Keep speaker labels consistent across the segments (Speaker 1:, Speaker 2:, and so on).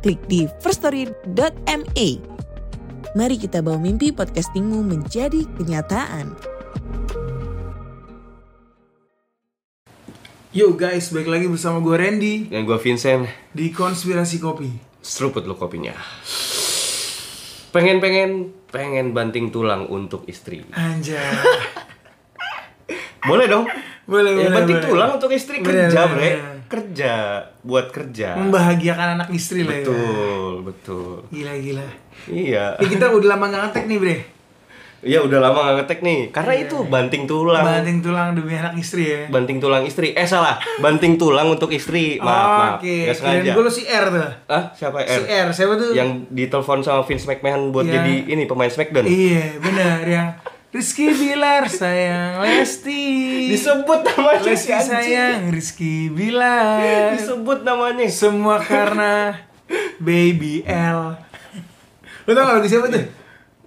Speaker 1: klik di firststory.me. Mari kita bawa mimpi podcastingmu menjadi kenyataan.
Speaker 2: Yo guys, balik lagi bersama gue Randy
Speaker 3: Dan gue Vincent,
Speaker 2: di Konspirasi Kopi.
Speaker 3: seruput lo kopinya. Pengen-pengen, pengen banting tulang untuk istri.
Speaker 2: Anjay.
Speaker 3: Boleh dong?
Speaker 2: Boleh, boleh,
Speaker 3: Ya, banting
Speaker 2: boleh.
Speaker 3: tulang untuk istri
Speaker 2: Boleh,
Speaker 3: kerja,
Speaker 2: boleh,
Speaker 3: bre.
Speaker 2: boleh. Hmm,
Speaker 3: Kerja, buat kerja.
Speaker 2: Membahagiakan anak istri lah ya.
Speaker 3: Betul, betul.
Speaker 2: Gila gila.
Speaker 3: Iya.
Speaker 2: Ini kita udah lama nggak ngetek nih bre.
Speaker 3: Iya udah lama gak ngetek nih. Karena itu banting tulang.
Speaker 2: Iya, Banting tulang demi anak istri ya.
Speaker 3: Banting tulang istri. Eh salah, banting tulang untuk istri. Maaf, maaf. Nggak sengaja.
Speaker 2: gue lo si R tuh.
Speaker 3: Hah? Siapa
Speaker 2: Si R,
Speaker 3: R?
Speaker 2: siapa tuh?
Speaker 3: Yang ditelepon sama Vince McMahon buat
Speaker 2: Iya.
Speaker 3: jadi ini pemain Smackdown.
Speaker 2: Iya, benar yang Rizky Bilar sayang Lesti.
Speaker 3: Disebut namanya si
Speaker 2: Lesti
Speaker 3: anjing.
Speaker 2: sayang Rizky Bilar.
Speaker 3: Disebut namanya.
Speaker 2: Semua karena Baby L. Lo tau gak lagu siapa tuh?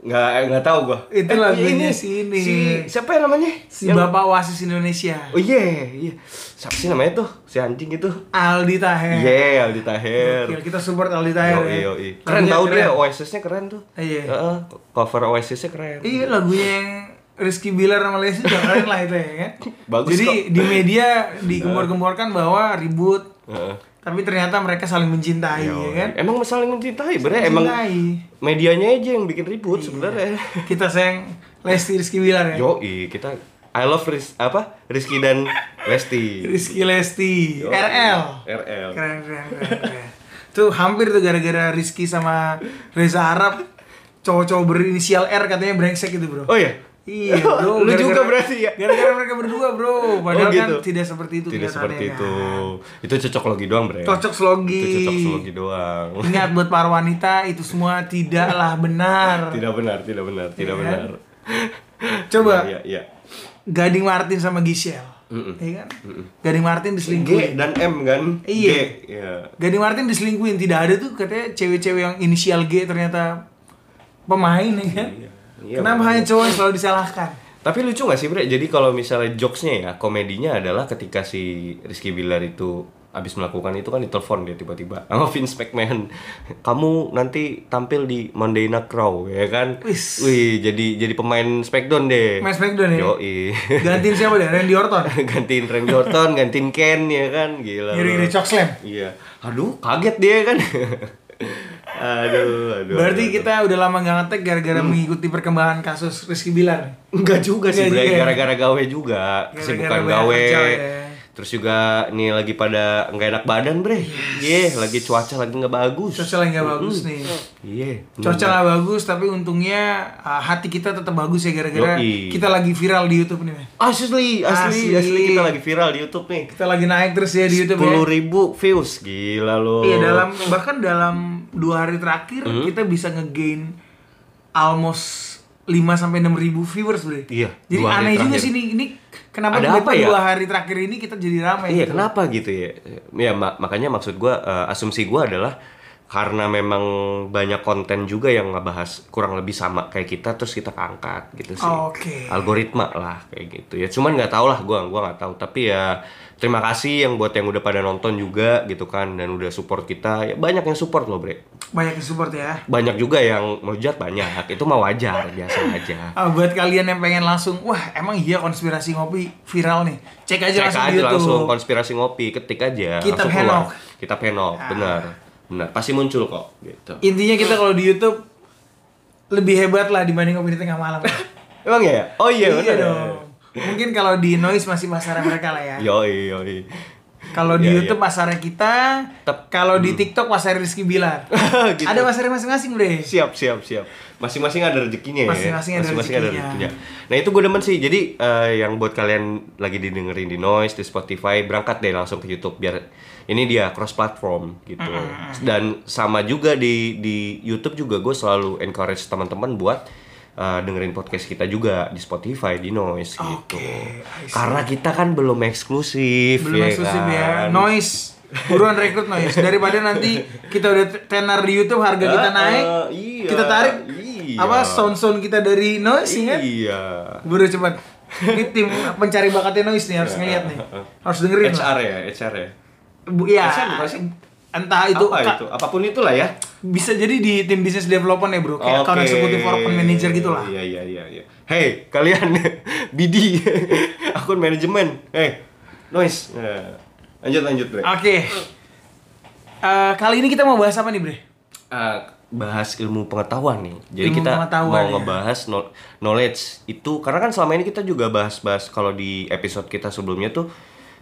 Speaker 3: Nggak, eh, nggak tahu gua.
Speaker 2: Itu lagunya si ini.
Speaker 3: Si, siapa yang namanya?
Speaker 2: Si Bapak Wasis Indonesia.
Speaker 3: Oh iya, iya. Siapa sih namanya tuh? Si anjing itu.
Speaker 2: Aldi Taher.
Speaker 3: Iya, Aldi Taher.
Speaker 2: Eh. Gokil, kita support Aldi Taher.
Speaker 3: Yoi,
Speaker 2: ya.
Speaker 3: yoi. Keren
Speaker 2: Lagunya
Speaker 3: tau
Speaker 2: keren.
Speaker 3: dia, Oasis-nya keren tuh.
Speaker 2: Iya.
Speaker 3: Heeh, cover Oasis-nya keren.
Speaker 2: Iya, lagunya yang Rizky Bilar sama Lesti juga keren lah itu ya kan.
Speaker 3: Bagus
Speaker 2: Jadi
Speaker 3: kok.
Speaker 2: di media digembor-gemborkan bahwa ribut,
Speaker 3: Heeh.
Speaker 2: tapi ternyata mereka saling mencintai ya
Speaker 3: Yoi.
Speaker 2: kan.
Speaker 3: Emang saling mencintai, bre. Emang
Speaker 2: Mencintai. Iya.
Speaker 3: medianya aja yang bikin ribut sebenarnya.
Speaker 2: kita sayang Lesti Rizky Bilar ya.
Speaker 3: Yoi, kita I love Riz, apa? Rizky dan Lesti.
Speaker 2: Rizky Lesti
Speaker 3: Yoi.
Speaker 2: RL.
Speaker 3: RL.
Speaker 2: Keren, keren, keren, keren. Tuh hampir tuh gara-gara Rizky sama Reza Arab cowok-cowok berinisial R katanya brengsek gitu bro.
Speaker 3: Oh iya.
Speaker 2: Iya, bro.
Speaker 3: Lu
Speaker 2: Gara-gara-
Speaker 3: juga berarti ya?
Speaker 2: Gara-gara mereka berdua, bro. Padahal
Speaker 3: Oh, gitu.
Speaker 2: kan tidak seperti itu.
Speaker 3: Tidak
Speaker 2: kelihatannya,
Speaker 3: seperti
Speaker 2: kan.
Speaker 3: itu. Itu cocok logi doang, Bre.
Speaker 2: Cocok slogi.
Speaker 3: Itu cocok logi doang.
Speaker 2: Ingat buat para wanita itu semua tidaklah benar.
Speaker 3: tidak benar, tidak benar, tidak
Speaker 2: Iya.
Speaker 3: benar.
Speaker 2: Coba
Speaker 3: Iya, iya.
Speaker 2: Gading Martin sama Giselle. Iya kan? Gading Martin
Speaker 3: G
Speaker 2: diselingkuhin.
Speaker 3: dan M kan?
Speaker 2: Iya.
Speaker 3: G, Iya.
Speaker 2: Gading Martin diselingkuhin, tidak ada tuh katanya cewek-cewek yang inisial G ternyata pemain ya kan?
Speaker 3: Iya,
Speaker 2: Kenapa
Speaker 3: makanya.
Speaker 2: hanya cowok yang selalu disalahkan?
Speaker 3: Tapi lucu gak sih, Bre? Jadi kalau misalnya jokesnya ya, komedinya adalah ketika si Rizky Billar itu abis melakukan itu kan ditelepon dia tiba-tiba sama Vince McMahon kamu nanti tampil di Monday Night Raw ya kan
Speaker 2: Wis.
Speaker 3: wih jadi jadi pemain Smackdown deh
Speaker 2: Main Smackdown ya?
Speaker 3: Yoi.
Speaker 2: Gantiin siapa deh? Randy Orton.
Speaker 3: gantiin Randy Orton, gantiin Ken ya kan, gila. lu.
Speaker 2: Ngiri-ngiri chok slam.
Speaker 3: Iya. Aduh, kaget dia kan. aduh, aduh.
Speaker 2: Berarti
Speaker 3: aduh.
Speaker 2: kita udah lama nggak ngetek gara-gara
Speaker 3: Hmm.
Speaker 2: mengikuti perkembangan kasus Rizky Bilar. nih.
Speaker 3: enggak juga sih,
Speaker 2: Enggak
Speaker 3: Bre,
Speaker 2: juga ya?
Speaker 3: gara-gara gawe juga,
Speaker 2: Gara-gara
Speaker 3: kesibukan
Speaker 2: banyak
Speaker 3: gawe.
Speaker 2: kerja ya.
Speaker 3: Terus juga nih lagi pada nggak enak badan, Bre. Iya, lagi cuaca lagi nggak bagus.
Speaker 2: Cocok lagi
Speaker 3: Hmm.
Speaker 2: nggak bagus nih.
Speaker 3: Iya.
Speaker 2: Cocok nggak bagus, tapi untungnya uh, hati kita tetap bagus ya gara-gara
Speaker 3: Yoi.
Speaker 2: kita lagi viral di YouTube nih. men.
Speaker 3: Asli, asli,
Speaker 2: Asli.
Speaker 3: asli, kita lagi viral di YouTube nih.
Speaker 2: Kita lagi naik terus ya di YouTube. ya.
Speaker 3: 10.000 ribu views, gila lo.
Speaker 2: Iya dalam bahkan dalam dua hari terakhir
Speaker 3: Hmm.
Speaker 2: kita bisa ngegain almost 5 sampai enam ribu viewers bre.
Speaker 3: Iya,
Speaker 2: Jadi
Speaker 3: dua
Speaker 2: aneh
Speaker 3: hari
Speaker 2: juga
Speaker 3: terakhir.
Speaker 2: sih ini, ini kenapa
Speaker 3: Ada
Speaker 2: tiba-tiba
Speaker 3: apa ya?
Speaker 2: dua hari terakhir ini kita jadi ramai.
Speaker 3: Iya,
Speaker 2: gitu.
Speaker 3: kenapa gitu ya? Ya ma- makanya maksud gua eh, asumsi gua adalah karena memang banyak konten juga yang ngebahas kurang lebih sama kayak kita terus kita angkat gitu sih.
Speaker 2: Oke.
Speaker 3: Algoritma lah kayak gitu. Ya cuman nggak tahu lah gua, gua nggak tahu tapi ya terima kasih yang buat yang udah pada nonton juga gitu kan dan udah support kita. Ya banyak yang support loh, Bre.
Speaker 2: Banyak yang support ya.
Speaker 3: Banyak juga yang melihat banyak. Itu mah wajar, biasa aja.
Speaker 2: Ah, buat kalian yang pengen langsung, wah emang iya konspirasi ngopi viral nih. Cek aja
Speaker 3: Cek
Speaker 2: langsung
Speaker 3: aja
Speaker 2: di YouTube.
Speaker 3: langsung konspirasi ngopi, ketik aja.
Speaker 2: Kitab
Speaker 3: langsung keluar.
Speaker 2: Henok.
Speaker 3: Kitab Henok,
Speaker 2: Ah.
Speaker 3: benar. Benar, pasti muncul kok gitu.
Speaker 2: Intinya kita kalau di YouTube lebih hebat lah dibanding ngopi di tengah malam.
Speaker 3: Emang ya? Oh iya, benar.
Speaker 2: dong. Mungkin kalau di noise masih pasar mereka lah ya.
Speaker 3: Yoi, yoi.
Speaker 2: Kalau di
Speaker 3: Iya, iya.
Speaker 2: YouTube pasarnya kita,
Speaker 3: Tep-
Speaker 2: kalau di TikTok pasar Rizky Bilar.
Speaker 3: Gitu. Iya,
Speaker 2: Ada pasarnya masing-masing, Bre.
Speaker 3: siap siap siap masing-masing ada rezekinya
Speaker 2: Masing-masing
Speaker 3: ya
Speaker 2: ada rezekinya.
Speaker 3: nah itu gue demen sih jadi eh, yang buat kalian lagi didengerin di noise di Spotify berangkat deh langsung ke YouTube biar ini dia cross platform gitu dan sama juga di di YouTube juga gue selalu encourage teman-teman buat eh, dengerin podcast kita juga di Spotify di noise gitu
Speaker 2: Oke, I see.
Speaker 3: karena kita kan belum eksklusif
Speaker 2: Belum eksklusif ya.
Speaker 3: kan?
Speaker 2: Noise. Buruan rekrut noise daripada nanti kita udah tenar di YouTube harga kita
Speaker 3: Ah,
Speaker 2: naik.
Speaker 3: iya,
Speaker 2: kita tarik
Speaker 3: iya.
Speaker 2: apa sound-sound kita dari noise ya kan?
Speaker 3: iya
Speaker 2: Buru cepat. Ini tim pencari bakatnya noise nih
Speaker 3: Iya.
Speaker 2: harus ngeliat nih. Harus dengerin. lah.
Speaker 3: HR ya, HR ya.
Speaker 2: Bu, ya.
Speaker 3: HR bukan sih?
Speaker 2: Entah itu,
Speaker 3: Itu apa
Speaker 2: ka-
Speaker 3: itu? Apapun itulah ya.
Speaker 2: bisa jadi di tim business development ya bro kayak
Speaker 3: Oke.
Speaker 2: account executive or account manager gitu lah
Speaker 3: Iya iya iya iya. Hey, kalian BD akun manajemen. Hey, noise. Nah, Lanjut lanjut, Bre.
Speaker 2: oke Eh, kali ini kita mau bahas apa nih bre
Speaker 3: Eh, bahas ilmu pengetahuan nih. Jadi
Speaker 2: Ilmu
Speaker 3: kita
Speaker 2: pengetahuan,
Speaker 3: mau
Speaker 2: ya.
Speaker 3: ngebahas kno- knowledge itu karena kan selama ini kita juga bahas-bahas kalau di episode kita sebelumnya tuh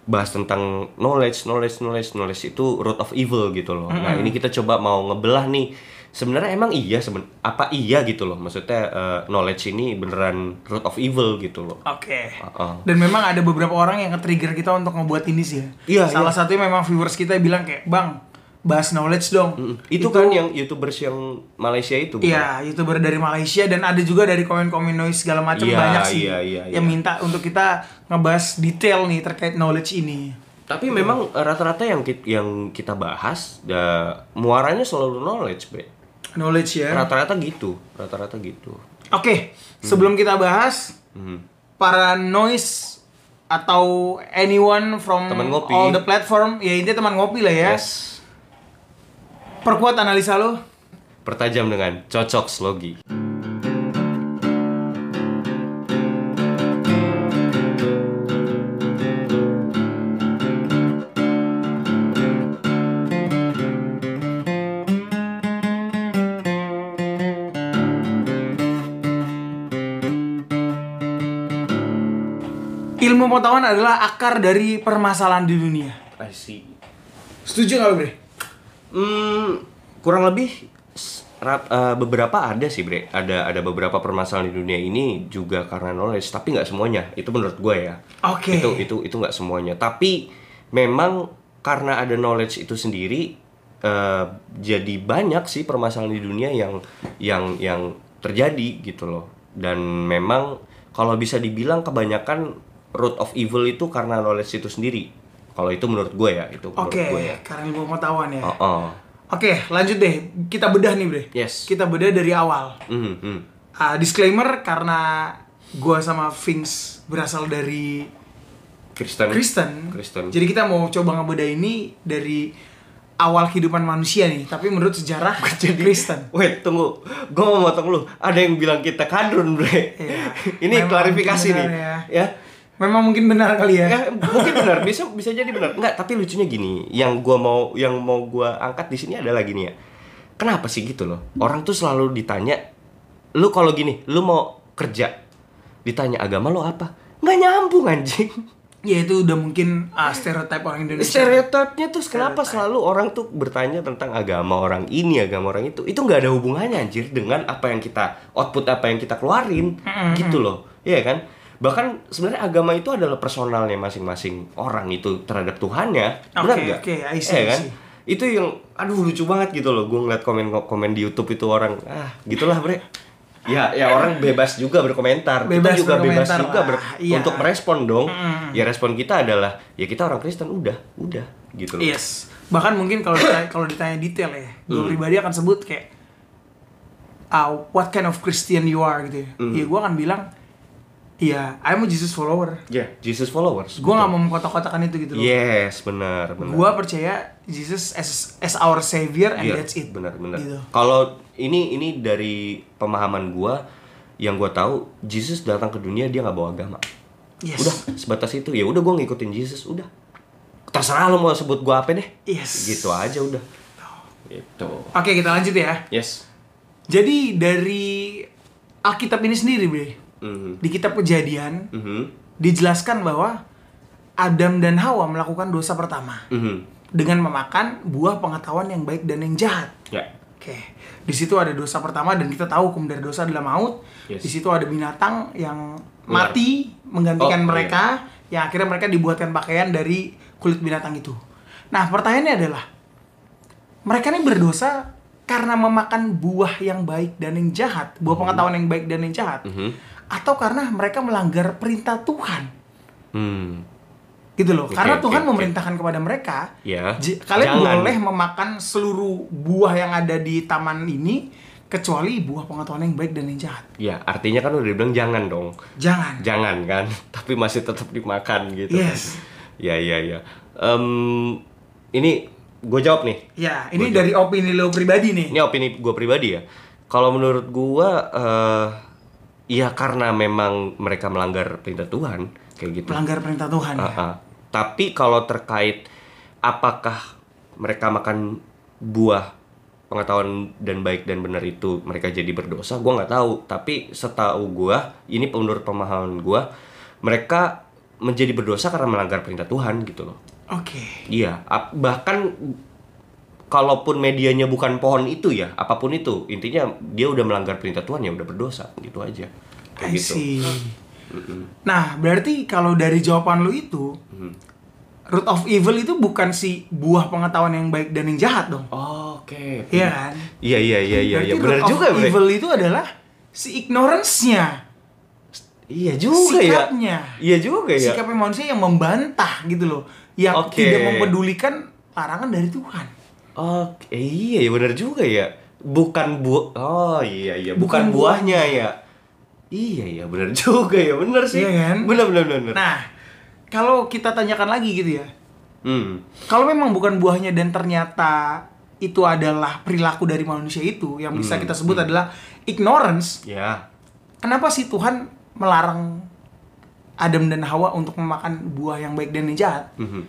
Speaker 3: bahas tentang knowledge, knowledge, knowledge, knowledge itu root of evil gitu loh. Nah, ini kita coba mau ngebelah nih. Sebenarnya emang iya seben apa iya gitu loh. Maksudnya eh, knowledge ini beneran root of evil gitu loh.
Speaker 2: oke
Speaker 3: Uh-uh.
Speaker 2: dan memang ada beberapa orang yang nge-trigger kita untuk ngebuat ini sih ya
Speaker 3: Iya,
Speaker 2: salah
Speaker 3: iya.
Speaker 2: satunya memang viewers kita bilang kayak bang bahas knowledge dong
Speaker 3: Itu, kan yang YouTubers yang Malaysia itu. gitu. bukan?
Speaker 2: Iya, youtuber dari Malaysia dan ada juga dari komen-komen noise segala macam
Speaker 3: Iya,
Speaker 2: banyak sih
Speaker 3: iya, iya,
Speaker 2: yang
Speaker 3: iya.
Speaker 2: minta untuk kita ngebahas detail nih terkait knowledge ini.
Speaker 3: Tapi memang eh, rata-rata yang kita, yang kita bahas da, muaranya selalu knowledge, Bre.
Speaker 2: Knowledge ya.
Speaker 3: Rata-rata gitu, rata-rata gitu. Hmm.
Speaker 2: Oke, sebelum kita bahas para noise atau anyone from
Speaker 3: Teman ngopi.
Speaker 2: all the platform, ya intinya teman ngopi lah ya.
Speaker 3: Yes.
Speaker 2: Perkuat analisa lo.
Speaker 3: Pertajam dengan cocok slogi.
Speaker 2: Ilmu pengetahuan adalah akar dari permasalahan di dunia.
Speaker 3: I see.
Speaker 2: Setuju nggak lo, Bre?
Speaker 3: Hmm, kurang lebih s- rat- eh, beberapa ada sih, Bre. Ada ada beberapa permasalahan di dunia ini juga karena knowledge, tapi nggak semuanya. Itu menurut gue ya.
Speaker 2: Oke.
Speaker 3: Itu itu itu nggak semuanya. Tapi memang karena ada knowledge itu sendiri eh, jadi banyak sih permasalahan di dunia yang yang yang terjadi gitu loh. Dan memang kalau bisa dibilang kebanyakan root of evil itu karena knowledge itu sendiri. Kalau itu menurut gue ya, itu menurut
Speaker 2: Oke,
Speaker 3: gue ya.
Speaker 2: karena ilmu pengetahuan ya.
Speaker 3: Oh, oh.
Speaker 2: Oke, lanjut deh. Kita bedah nih, Bre.
Speaker 3: Yes.
Speaker 2: Kita bedah dari awal.
Speaker 3: Hmm, hmm.
Speaker 2: Ah, disclaimer karena gua sama Vince berasal dari
Speaker 3: Kristen.
Speaker 2: Kristen.
Speaker 3: Kristen.
Speaker 2: Jadi kita mau coba ngebedah ini dari awal kehidupan manusia nih, tapi menurut sejarah Kristen.
Speaker 3: Wait, tunggu. Gue mau motong lu. Ada yang bilang kita kadrun, bre.
Speaker 2: Iya.
Speaker 3: Ini
Speaker 2: Memang
Speaker 3: klarifikasi
Speaker 2: benar
Speaker 3: nih. Ya.
Speaker 2: Memang mungkin benar kali ya.
Speaker 3: Eh, mungkin benar, bisa bisa jadi benar. Enggak, tapi lucunya gini, yang gua mau yang mau gua angkat di sini adalah gini ya. Kenapa sih gitu loh? Orang tuh selalu ditanya, "Lu kalau gini, lu mau kerja?" Ditanya agama lo apa? Nggak nyambung anjing.
Speaker 2: Ya itu udah mungkin ah, stereotip orang Indonesia.
Speaker 3: Stereotipnya tuh kenapa selalu orang tuh bertanya tentang agama orang ini, agama orang itu. Itu nggak ada hubungannya anjir dengan apa yang kita output apa yang kita keluarin gitu loh. Iya kan? Bahkan sebenarnya agama itu adalah personalnya masing-masing orang itu terhadap Tuhannya. Benar
Speaker 2: Oke,
Speaker 3: nggak?
Speaker 2: oke, I see,
Speaker 3: Iya
Speaker 2: I
Speaker 3: kan?
Speaker 2: see.
Speaker 3: Itu yang aduh lucu banget gitu loh. Gue ngeliat komen-komen di YouTube itu orang ah gitulah bre. Ya, ya orang bebas juga berkomentar.
Speaker 2: Bebas
Speaker 3: kita juga bebas
Speaker 2: berkomentar
Speaker 3: juga
Speaker 2: lah,
Speaker 3: ber-
Speaker 2: iya.
Speaker 3: untuk merespon dong.
Speaker 2: Mm-hmm.
Speaker 3: Ya respon kita adalah ya kita orang Kristen udah, udah gitu loh.
Speaker 2: Yes. Bahkan mungkin kalau ditanya, kalau ditanya detail ya, gue
Speaker 3: Hmm.
Speaker 2: pribadi akan sebut kayak ah, what kind of Christian you are gitu ya.
Speaker 3: Hmm.
Speaker 2: Ya gue akan bilang ya I'm a Jesus follower.
Speaker 3: Ya, Jesus followers.
Speaker 2: Gue nggak
Speaker 3: betul.
Speaker 2: mau mengkotak-kotakan itu gitu loh.
Speaker 3: Yes, benar, benar.
Speaker 2: Gue percaya Jesus as, as our savior and
Speaker 3: Iya,
Speaker 2: that's it.
Speaker 3: Benar, benar.
Speaker 2: Gitu.
Speaker 3: Kalau ini ini dari pemahaman gua yang gua tahu Jesus datang ke dunia dia nggak bawa agama.
Speaker 2: Yes.
Speaker 3: Udah, sebatas itu. Ya udah gua ngikutin Jesus, udah. Terserah lo mau sebut gua apa deh.
Speaker 2: Yes.
Speaker 3: Gitu aja udah. Gitu.
Speaker 2: Oke, kita lanjut ya.
Speaker 3: Yes.
Speaker 2: Jadi dari Alkitab ini sendiri, Bre.
Speaker 3: Mhm.
Speaker 2: Di kitab Kejadian
Speaker 3: Mhm.
Speaker 2: dijelaskan bahwa Adam dan Hawa melakukan dosa pertama
Speaker 3: Mhm.
Speaker 2: dengan memakan buah pengetahuan yang baik dan yang jahat.
Speaker 3: Ya.
Speaker 2: Oke, di situ ada dosa pertama dan kita tahu hukum dari dosa adalah maut.
Speaker 3: Yes.
Speaker 2: Di situ ada binatang yang
Speaker 3: Ular.
Speaker 2: mati menggantikan
Speaker 3: Oh,
Speaker 2: mereka, yang akhirnya mereka dibuatkan pakaian dari kulit binatang itu. Nah, pertanyaannya adalah mereka ini berdosa karena memakan buah yang baik dan yang jahat, buah
Speaker 3: Hmm.
Speaker 2: pengetahuan yang baik dan yang jahat,
Speaker 3: Mhm.
Speaker 2: atau karena mereka melanggar perintah Tuhan,
Speaker 3: Hmm.
Speaker 2: gitu loh.
Speaker 3: Oke,
Speaker 2: karena
Speaker 3: oke,
Speaker 2: Tuhan
Speaker 3: oke.
Speaker 2: memerintahkan kepada mereka
Speaker 3: Ya.
Speaker 2: J- kalian
Speaker 3: Jangan.
Speaker 2: boleh memakan seluruh buah yang ada di taman ini kecuali buah pengetahuan yang baik dan yang jahat.
Speaker 3: Ya, artinya kan udah dibilang jangan dong.
Speaker 2: Jangan.
Speaker 3: Jangan kan, tapi masih tetap dimakan gitu. kan.
Speaker 2: Yes.
Speaker 3: Ya, ya, ya. Em, ini gue jawab nih.
Speaker 2: Ya, ini dari opini lo pribadi nih.
Speaker 3: Ini opini gue pribadi ya. Kalau menurut gue, eh ya karena memang mereka melanggar perintah Tuhan kayak gitu.
Speaker 2: Pelanggar perintah Tuhan ya.
Speaker 3: Ah, ah. Tapi kalau terkait apakah mereka makan buah pengetahuan dan baik dan benar itu mereka jadi berdosa, gua nggak tahu. Tapi setahu gua, ini menurut pemahaman gua, mereka menjadi berdosa karena melanggar perintah Tuhan gitu loh.
Speaker 2: Oke.
Speaker 3: Iya, ap- bahkan kalaupun medianya bukan pohon itu ya, apapun itu, intinya dia udah melanggar perintah Tuhan ya udah berdosa gitu aja. Kayak
Speaker 2: I
Speaker 3: gitu.
Speaker 2: see. Nah, berarti kalau dari jawaban lo itu root of evil itu bukan si buah pengetahuan yang baik dan yang jahat dong.
Speaker 3: Oke.
Speaker 2: Iya kan?
Speaker 3: Iya iya iya
Speaker 2: berarti
Speaker 3: iya, iya. benar
Speaker 2: root
Speaker 3: juga
Speaker 2: of
Speaker 3: Bre.
Speaker 2: evil itu adalah si ignorance-nya,
Speaker 3: Iya juga ya.
Speaker 2: sikapnya.
Speaker 3: Iya juga ya.
Speaker 2: sikapnya manusia yang membantah gitu loh yang
Speaker 3: Oke.
Speaker 2: tidak mempedulikan larangan dari Tuhan
Speaker 3: Oke, iya ya benar juga ya. Bukan bu Oh iya iya, bukan,
Speaker 2: Bukan
Speaker 3: buahnya ya. Iya iya benar juga ya, benar sih.
Speaker 2: Iya kan?
Speaker 3: Benar benar benar. benar.
Speaker 2: nah kalau kita tanyakan lagi gitu ya
Speaker 3: Hmm.
Speaker 2: kalau memang bukan buahnya dan ternyata itu adalah perilaku dari manusia itu yang bisa
Speaker 3: Hmm,
Speaker 2: kita sebut adalah ignorance
Speaker 3: Ya.
Speaker 2: kenapa sih Tuhan melarang Adam dan Hawa untuk memakan buah yang baik dan yang jahat
Speaker 3: Mhm.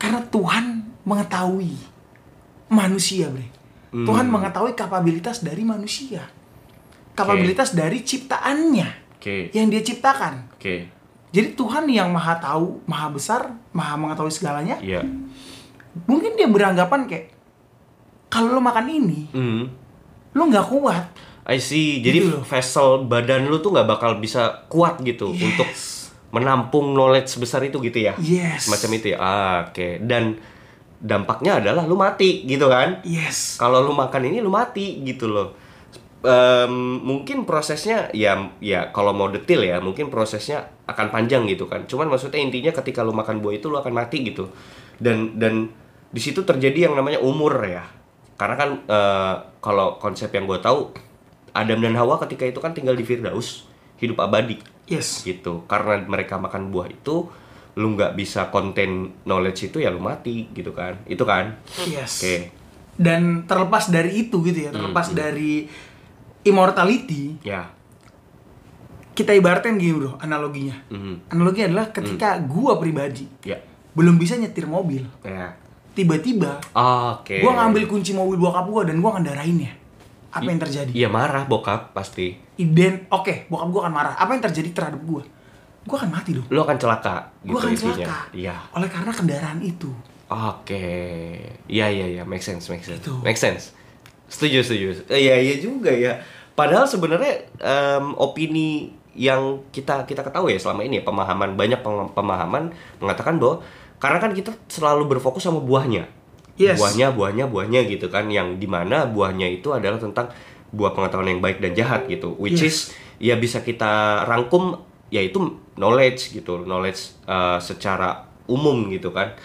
Speaker 2: karena Tuhan mengetahui manusia bre
Speaker 3: Hmm.
Speaker 2: Tuhan mengetahui kapabilitas dari manusia kapabilitas dari ciptaannya
Speaker 3: Oke.
Speaker 2: yang dia ciptakan
Speaker 3: Oke.
Speaker 2: jadi Tuhan yang maha tahu maha besar maha mengetahui segalanya
Speaker 3: Iya.
Speaker 2: mungkin dia beranggapan kayak kalau lo makan ini
Speaker 3: Hmm.
Speaker 2: lo nggak kuat
Speaker 3: I see. Jadi
Speaker 2: Gitu loh.
Speaker 3: vessel badan lu tuh nggak bakal bisa kuat gitu
Speaker 2: Yes.
Speaker 3: untuk menampung knowledge sebesar itu gitu ya.
Speaker 2: yes
Speaker 3: Semacam itu ya. Ah, Oke. Dan dampaknya adalah lu mati gitu kan?
Speaker 2: yes
Speaker 3: kalau lu makan ini lu mati gitu loh Em, mungkin prosesnya ya ya kalau mau detil ya mungkin prosesnya akan panjang gitu kan cuman maksudnya intinya ketika lu makan buah itu lu akan mati gitu dan dan di situ terjadi yang namanya umur ya karena kan eh, kalau konsep yang gue tahu Adam dan Hawa ketika itu kan tinggal di Firdaus hidup abadi
Speaker 2: yes
Speaker 3: gitu karena mereka makan buah itu lu nggak bisa konten knowledge itu ya lu mati gitu kan itu kan
Speaker 2: yes
Speaker 3: oke Hmm,
Speaker 2: dan terlepas dari itu gitu ya terlepas dari immortality
Speaker 3: ya
Speaker 2: kita ibaratkan gini bro analoginya
Speaker 3: Mhm.
Speaker 2: analoginya adalah ketika gua pribadi
Speaker 3: Ya.
Speaker 2: belum bisa nyetir mobil
Speaker 3: Ya.
Speaker 2: tiba-tiba
Speaker 3: Oke.
Speaker 2: gua ngambil kunci mobil bokap gua dan gua kendarainnya apa yang terjadi
Speaker 3: Iya marah bokap pasti.
Speaker 2: Iden, oke bokap gua akan marah apa yang terjadi terhadap gua gua akan mati dong
Speaker 3: Lu akan celaka gitu
Speaker 2: gua akan
Speaker 3: intinya.
Speaker 2: celaka
Speaker 3: Iya.
Speaker 2: oleh karena kendaraan itu
Speaker 3: Oke. Iya iya iya make sense make sense.
Speaker 2: Gitu.
Speaker 3: Make sense. Setuju setuju. Eh, Iya iya juga ya. Padahal sebenarnya em, opini yang kita kita ketahui ya selama ini ya, pemahaman banyak pem- pemahaman mengatakan bahwa karena kan kita selalu berfokus sama buahnya.
Speaker 2: Yes.
Speaker 3: Buahnya, Ya, buahnya, buahnya gitu kan yang dimana buahnya itu adalah tentang buah pengetahuan yang baik dan jahat gitu. Which
Speaker 2: Yes.
Speaker 3: is ya bisa kita rangkum yaitu knowledge gitu knowledge uh, secara umum gitu kan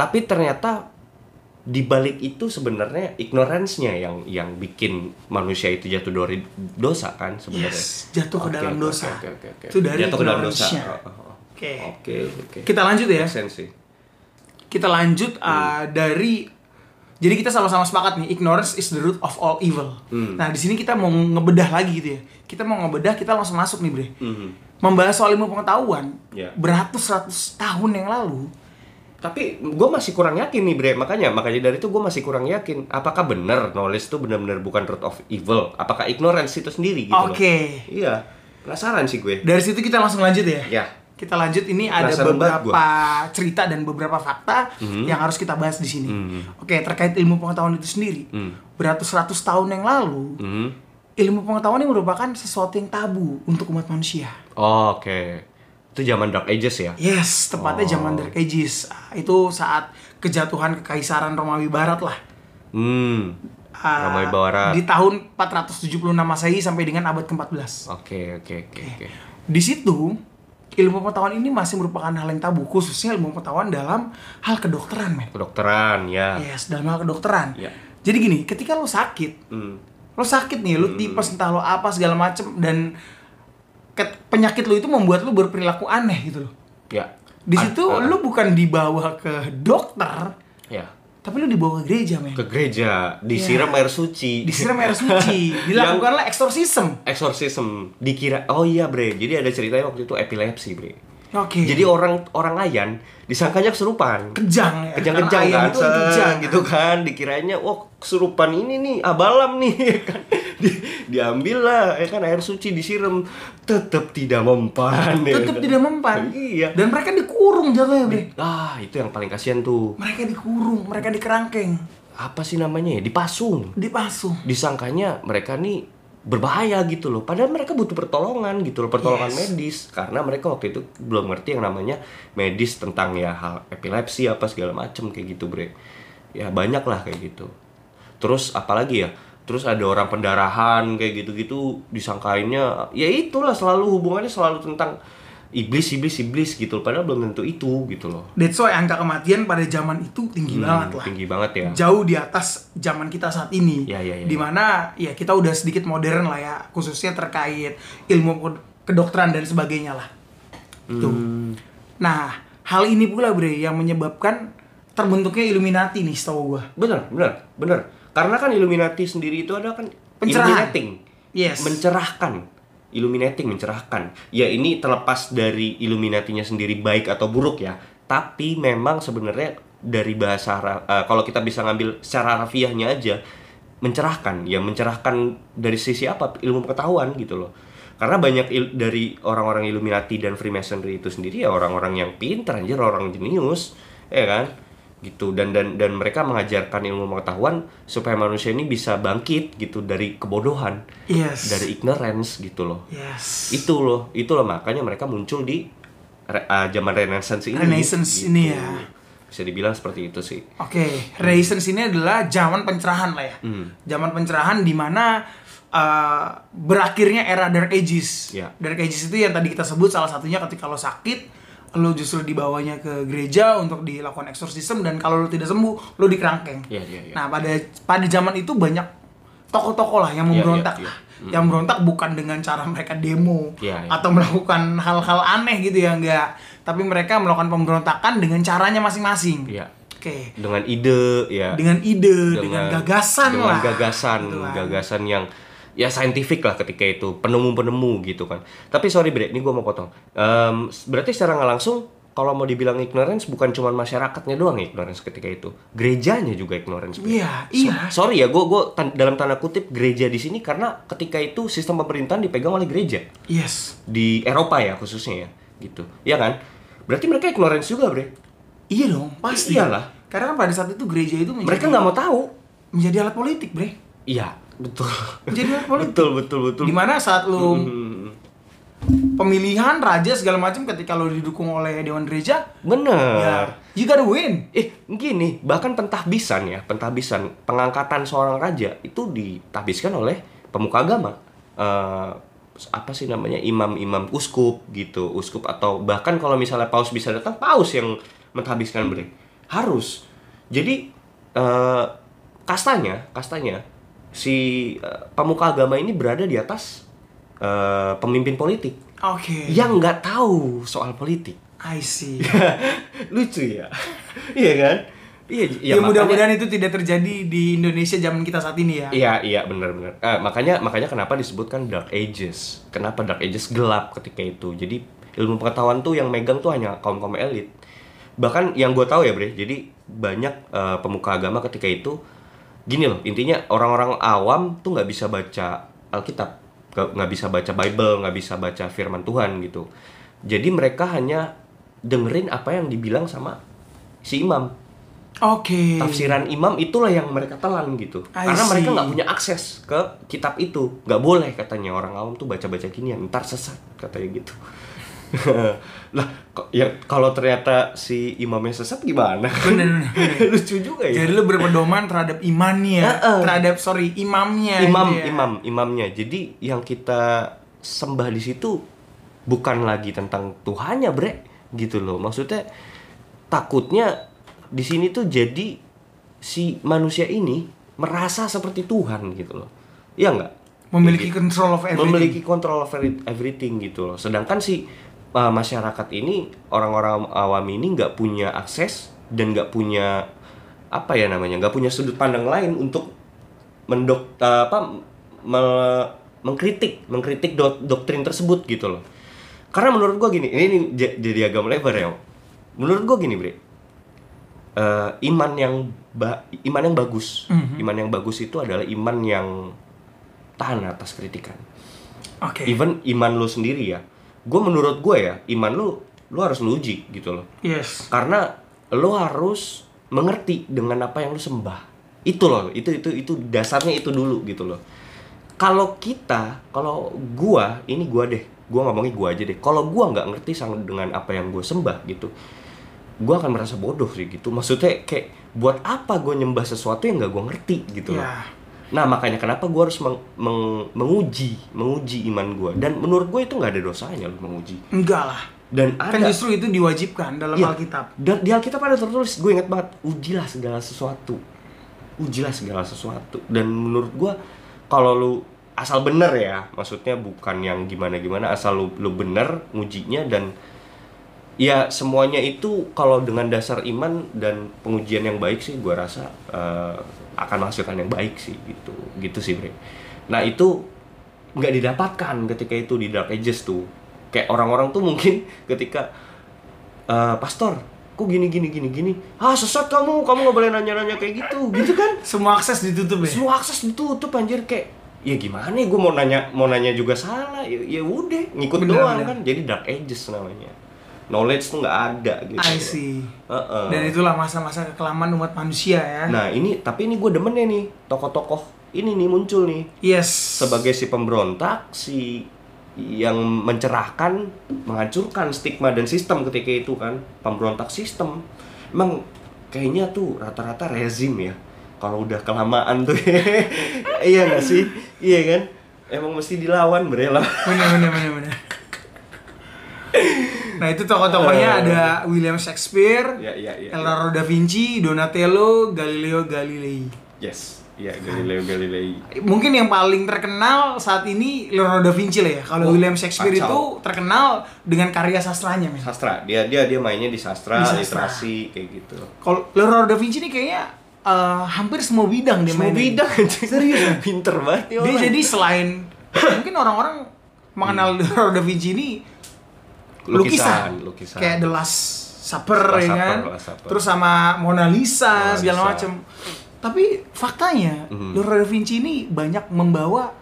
Speaker 3: tapi ternyata di balik itu sebenarnya ignorance-nya yang yang bikin manusia itu jatuh dari dosa kan sebenarnya
Speaker 2: yes jatuh ke
Speaker 3: Oke,
Speaker 2: dalam
Speaker 3: oke,
Speaker 2: dosa
Speaker 3: oke, oke, oke.
Speaker 2: itu dari
Speaker 3: jatuh ke dalam dosa
Speaker 2: ignorance-nya.
Speaker 3: Oh, oh, oh.
Speaker 2: Oke.
Speaker 3: oke oke
Speaker 2: kita lanjut ya
Speaker 3: Make sense sih.
Speaker 2: kita lanjut
Speaker 3: Hmm.
Speaker 2: uh, dari jadi kita sama-sama sepakat nih ignorance is the root of all evil
Speaker 3: Hmm.
Speaker 2: nah di sini kita mau ngebedah lagi gitu ya kita mau ngebedah kita langsung masuk nih bre
Speaker 3: Mhm.
Speaker 2: membahas soal ilmu pengetahuan
Speaker 3: Ya.
Speaker 2: beratus-ratus tahun yang lalu
Speaker 3: tapi gue masih kurang yakin nih Bre makanya makanya dari itu gue masih kurang yakin apakah benar knowledge itu benar-benar bukan root of evil apakah ignorance itu sendiri gitu loh
Speaker 2: oke
Speaker 3: Iya, penasaran sih gue.
Speaker 2: dari situ kita langsung lanjut ya
Speaker 3: Ya.
Speaker 2: Kita lanjut ini ada
Speaker 3: Penasaran banget Hmm.
Speaker 2: beberapa cerita dan beberapa fakta yang harus kita bahas di sini. Oke, terkait ilmu pengetahuan itu sendiri. Beratus-ratus tahun yang lalu,
Speaker 3: Hmm.
Speaker 2: ilmu pengetahuan ini merupakan sesuatu yang tabu untuk umat manusia.
Speaker 3: Oh, Oke. Itu zaman Dark Ages ya?
Speaker 2: Yes, tepatnya zaman Dark Ages. Ah, Itu saat kejatuhan kekaisaran Romawi Barat lah.
Speaker 3: Hmm.
Speaker 2: Ah,
Speaker 3: Romawi Barat.
Speaker 2: Di tahun 476 Masehi sampai dengan abad ke-14.
Speaker 3: Oke, oke, oke, oke.
Speaker 2: Di situ, ilmu pengetahuan ini masih merupakan hal yang tabu, khususnya ilmu pengetahuan dalam hal kedokteran, men.
Speaker 3: Kedokteran ya.
Speaker 2: Yes, dalam hal kedokteran.
Speaker 3: Iya.
Speaker 2: Jadi gini, ketika lo sakit,
Speaker 3: Hmm.
Speaker 2: lo sakit nih, lo tipes entah lo apa segala macem dan ke- penyakit lo itu membuat lo berperilaku aneh gitu loh.
Speaker 3: Ya.
Speaker 2: Di
Speaker 3: Ad-
Speaker 2: situ
Speaker 3: ah,
Speaker 2: lo bukan dibawa ke dokter,
Speaker 3: ya.
Speaker 2: tapi lo dibawa ke gereja, men.
Speaker 3: Ke gereja, disiram air suci.
Speaker 2: Iya. Disiram air suci, dilakukanlah eksorsisme.
Speaker 3: Exorcism dikira oh iya bre jadi ada ceritanya waktu itu epilepsi bre
Speaker 2: Ya, Oke.
Speaker 3: jadi orang orang layan disangkanya kesurupan
Speaker 2: kejang ya.
Speaker 3: kejang-kejang
Speaker 2: Karena ayam
Speaker 3: kan,
Speaker 2: itu
Speaker 3: seng,
Speaker 2: kejang
Speaker 3: gitu kan dikiranya wah kesurupan ini nih abalam nih ya kan Di- diambil lah ya kan air suci disiram tetap tidak mempan ya
Speaker 2: Tetap
Speaker 3: kan.
Speaker 2: tidak mempan.
Speaker 3: iya
Speaker 2: Dan mereka dikurung jatuhnya, Bre.
Speaker 3: ah itu yang paling kasihan tuh
Speaker 2: Mereka dikurung, mereka dikerangkeng,
Speaker 3: apa sih namanya ya dipasung
Speaker 2: dipasung.
Speaker 3: disangkanya mereka nih berbahaya gitu loh padahal mereka butuh pertolongan gitu loh pertolongan
Speaker 2: Yes.
Speaker 3: medis karena mereka waktu itu belum ngerti yang namanya medis tentang ya hal epilepsi apa segala macem kayak gitu bre ya banyak lah kayak gitu terus apalagi ya terus ada orang pendarahan kayak gitu-gitu disangkainnya ya itulah selalu hubungannya selalu tentang iblis iblis iblis gitu loh. padahal belum tentu itu gitu loh
Speaker 2: That's why angka kematian pada zaman itu tinggi banget
Speaker 3: Hmm,
Speaker 2: lah.
Speaker 3: tinggi banget ya
Speaker 2: Jauh di atas zaman kita saat ini.
Speaker 3: Ya, ya, ya,
Speaker 2: Dimana ya kita udah sedikit modern lah ya, khususnya terkait ilmu kedokteran dan sebagainya lah. Tuh. Nah, hal ini pula Bre yang menyebabkan terbentuknya Illuminati nih setahu gua.
Speaker 3: Bener, bener, bener. Karena kan Illuminati sendiri itu ada kan
Speaker 2: Pencerahan.
Speaker 3: illuminating.
Speaker 2: Yes.
Speaker 3: Mencerahkan. Illuminating mencerahkan. Ya ini terlepas dari Illuminatinya sendiri baik atau buruk ya. Tapi memang sebenarnya dari bahasa Ara- eh, kalau kita bisa ngambil secara harfiahnya aja mencerahkan. Ya mencerahkan dari sisi apa? Ilmu pengetahuan gitu loh. Karena banyak il- dari orang-orang Illuminati dan Freemasonry itu sendiri ya orang-orang yang pintar anjir, orang jenius, ya kan? gitu dan dan dan mereka mengajarkan ilmu pengetahuan supaya manusia ini bisa bangkit gitu dari kebodohan
Speaker 2: Yes.
Speaker 3: dari ignorance gitu loh
Speaker 2: Yes.
Speaker 3: itu loh itu loh makanya mereka muncul di re- ah, zaman renaissance ini
Speaker 2: Renaissance
Speaker 3: gitu.
Speaker 2: ini ya.
Speaker 3: bisa dibilang seperti itu sih
Speaker 2: Oke, Renaissance ini adalah zaman pencerahan lah ya. Zaman pencerahan di mana uh, berakhirnya era Dark Ages.
Speaker 3: Ya.
Speaker 2: Dark Ages itu yang tadi kita sebut salah satunya ketika lo sakit, lo justru dibawanya ke gereja untuk dilakukan eksorsisme dan kalau lo tidak sembuh, lo dikerangkeng.
Speaker 3: Iya, iya, iya.
Speaker 2: Nah, pada pada zaman itu banyak tokoh-tokoh lah yang
Speaker 3: Iya, iya,
Speaker 2: memberontak
Speaker 3: iya.
Speaker 2: lah. Yang memberontak bukan dengan cara mereka demo
Speaker 3: Iya, iya.
Speaker 2: atau melakukan hal-hal aneh gitu ya enggak, tapi mereka melakukan pemberontakan dengan caranya masing-masing.
Speaker 3: Iya.
Speaker 2: Oke.
Speaker 3: dengan ide ya
Speaker 2: Dengan ide, dengan, gagasan lah.
Speaker 3: dengan gagasan
Speaker 2: Gitu lah.
Speaker 3: gagasan yang ya saintifik lah ketika itu penemu-penemu gitu kan tapi sorry bre ini gue mau potong Em, berarti secara nggak langsung kalau mau dibilang ignorance bukan cuman masyarakatnya doang ignorance ketika itu gerejanya juga ignorance Bre.
Speaker 2: Iya, iya.
Speaker 3: So- sorry ya gue gue dalam tanda kutip gereja di sini karena ketika itu sistem pemerintahan dipegang oleh gereja
Speaker 2: Yes.
Speaker 3: di Eropa ya khususnya ya gitu ya kan berarti mereka ignorance juga bre
Speaker 2: Iya dong, pasti.
Speaker 3: Iyalah.
Speaker 2: Karena pada saat itu gereja itu menjadi,
Speaker 3: mereka nggak mau tahu
Speaker 2: menjadi alat politik, Bre.
Speaker 3: iya betul
Speaker 2: Menjadi alat politik.
Speaker 3: betul betul betul Hmm,
Speaker 2: Dimana saat lu pemilihan raja segala macam ketika lu didukung oleh dewan gereja,
Speaker 3: bener
Speaker 2: ya you gotta win.
Speaker 3: eh gini bahkan pentahbisan ya pentahbisan pengangkatan seorang raja itu ditahbiskan oleh pemuka agama Eh, apa sih namanya imam-imam uskup gitu uskup atau bahkan kalau misalnya paus bisa datang paus yang mentahbiskan bre harus jadi eh, kastanya kastanya si eh, pemuka agama ini berada di atas eh, pemimpin politik
Speaker 2: Oke.
Speaker 3: yang nggak tahu soal politik
Speaker 2: I see.
Speaker 3: Iya, lucu ya iya kan iya j-
Speaker 2: Ya,
Speaker 3: makanya-
Speaker 2: mudah-mudahan itu tidak terjadi di Indonesia zaman kita saat ini ya.
Speaker 3: iya iya benar-benar Eh, makanya makanya kenapa disebutkan dark ages kenapa dark ages gelap ketika itu jadi ilmu pengetahuan tuh yang megang tuh hanya kaum kaum elit bahkan yang gue tahu ya bre jadi banyak eh, pemuka agama ketika itu gini loh intinya orang-orang awam tuh nggak bisa baca alkitab nggak nggak bisa baca bible nggak bisa baca firman tuhan gitu Jadi mereka hanya dengerin apa yang dibilang sama si imam.
Speaker 2: Oke.
Speaker 3: Tafsiran imam itulah yang mereka telan gitu.
Speaker 2: Iya. I
Speaker 3: Karena mereka
Speaker 2: see.
Speaker 3: nggak punya akses ke kitab itu. Nggak boleh katanya orang awam tuh baca-baca ginian, ntar sesat katanya gitu. lah kok- ya kalau ternyata si imamnya sesat gimana?
Speaker 2: Bener, bener, bener.
Speaker 3: Lucu juga ya.
Speaker 2: Jadi lu berpedoman terhadap imannya,
Speaker 3: Heeh.
Speaker 2: terhadap sorry imamnya.
Speaker 3: imam
Speaker 2: gitu ya.
Speaker 3: imam imamnya jadi yang kita sembah di situ bukan lagi tentang Tuhannya bre gitu loh maksudnya takutnya di sini tuh jadi si manusia ini merasa seperti Tuhan gitu loh ya nggak
Speaker 2: Memiliki
Speaker 3: Gitu.
Speaker 2: control of everything.
Speaker 3: memiliki control over it- everything gitu loh sedangkan si uh, masyarakat ini orang-orang awam ini nggak punya akses dan nggak punya apa ya namanya nggak punya sudut pandang lain untuk mendok uh, apa me- mengkritik mengkritik dok- doktrin tersebut gitu loh karena menurut gua gini ini, ini j- jadi agak melebar ya Om. menurut gua gini bre Eh, iman yang ba- iman yang bagus
Speaker 2: Mhm.
Speaker 3: iman yang bagus itu adalah iman yang tahan atas kritikan
Speaker 2: Oke.
Speaker 3: even iman lo sendiri ya gue menurut gue ya iman lo lo harus lo uji gitu loh
Speaker 2: Yes.
Speaker 3: karena lo harus mengerti dengan apa yang lo sembah itu loh itu itu itu dasarnya itu dulu gitu loh kalau kita kalau gua ini gua deh gua ngomongin gua aja deh kalau gua nggak ngerti sama dengan apa yang gua sembah gitu gua akan merasa bodoh sih gitu maksudnya kayak buat apa gua nyembah sesuatu yang nggak gua ngerti gitu loh
Speaker 2: Ya.
Speaker 3: Nah makanya kenapa gue harus meng- meng- menguji, menguji iman gue. Dan menurut gue itu nggak ada dosanya loh menguji.
Speaker 2: Enggak lah.
Speaker 3: Dan
Speaker 2: Kan
Speaker 3: ada.
Speaker 2: justru itu diwajibkan dalam
Speaker 3: Iya.
Speaker 2: Alkitab.
Speaker 3: Dan di Alkitab ada tertulis, gue ingat banget, ujilah segala sesuatu. Ujilah segala sesuatu. Dan menurut gue, kalau lu asal bener ya, maksudnya bukan yang gimana-gimana, asal lu, lu bener ngujinya dan ya semuanya itu kalau dengan dasar iman dan pengujian yang baik sih gue rasa eh, akan menghasilkan yang baik sih gitu gitu sih bre nah itu nggak didapatkan ketika itu di dark ages tuh kayak orang-orang tuh mungkin ketika eh, pastor kok gini gini gini gini ah sesat kamu kamu nggak boleh nanya-nanya kayak gitu gitu kan
Speaker 2: Semua akses ditutup ya.
Speaker 3: semua akses ditutup anjir kayak ya gimana ya gue mau nanya mau nanya juga salah ya, ya udah ngikut
Speaker 2: Benar,
Speaker 3: doang
Speaker 2: benar.
Speaker 3: kan jadi dark ages namanya knowledge tuh nggak ada gitu
Speaker 2: I see.
Speaker 3: Heeh.
Speaker 2: Dan itulah masa-masa kekelaman umat manusia ya.
Speaker 3: nah ini tapi ini gue demennya nih tokoh-tokoh ini nih muncul nih
Speaker 2: yes.
Speaker 3: sebagai si pemberontak si yang mencerahkan menghancurkan stigma dan sistem ketika itu kan pemberontak sistem emang kayaknya tuh rata-rata rezim ya kalau udah kelamaan tuh iya nggak sih iya kan emang mesti dilawan berela
Speaker 2: Bener bener bener bener. Nah itu tokoh-tokohnya
Speaker 3: Eh.
Speaker 2: ada William Shakespeare,
Speaker 3: ya ya ya
Speaker 2: Leonardo da Vinci, Donatello, Galileo Galilei.
Speaker 3: yes ya Galileo Galilei
Speaker 2: Mungkin yang paling terkenal saat ini Leonardo da Vinci lah ya. Kalau
Speaker 3: Wah,
Speaker 2: William Shakespeare
Speaker 3: Oh, kacau.
Speaker 2: itu terkenal dengan karya sastranya, men.
Speaker 3: sastra dia dia dia mainnya di sastra,
Speaker 2: Di sastra.
Speaker 3: literasi kayak gitu
Speaker 2: Kalau Leonardo da Vinci ini kayaknya eh, hampir semua bidang dia
Speaker 3: semua
Speaker 2: mainin.
Speaker 3: bidang anjing.
Speaker 2: Serius, men.
Speaker 3: pinter banget nih
Speaker 2: Dia
Speaker 3: orang. Iya.
Speaker 2: jadi selain mungkin orang-orang mengenal Leonardo da Vinci ini lukisan,
Speaker 3: Lukisan, lukisan.
Speaker 2: kayak The Last Supper
Speaker 3: Last
Speaker 2: ya
Speaker 3: Supper,
Speaker 2: kan,
Speaker 3: Last Supper.
Speaker 2: terus sama Mona Lisa
Speaker 3: Mona
Speaker 2: segala
Speaker 3: Lisa.
Speaker 2: macam. Tapi faktanya
Speaker 3: Mhm.
Speaker 2: Leonardo da Vinci ini banyak membawa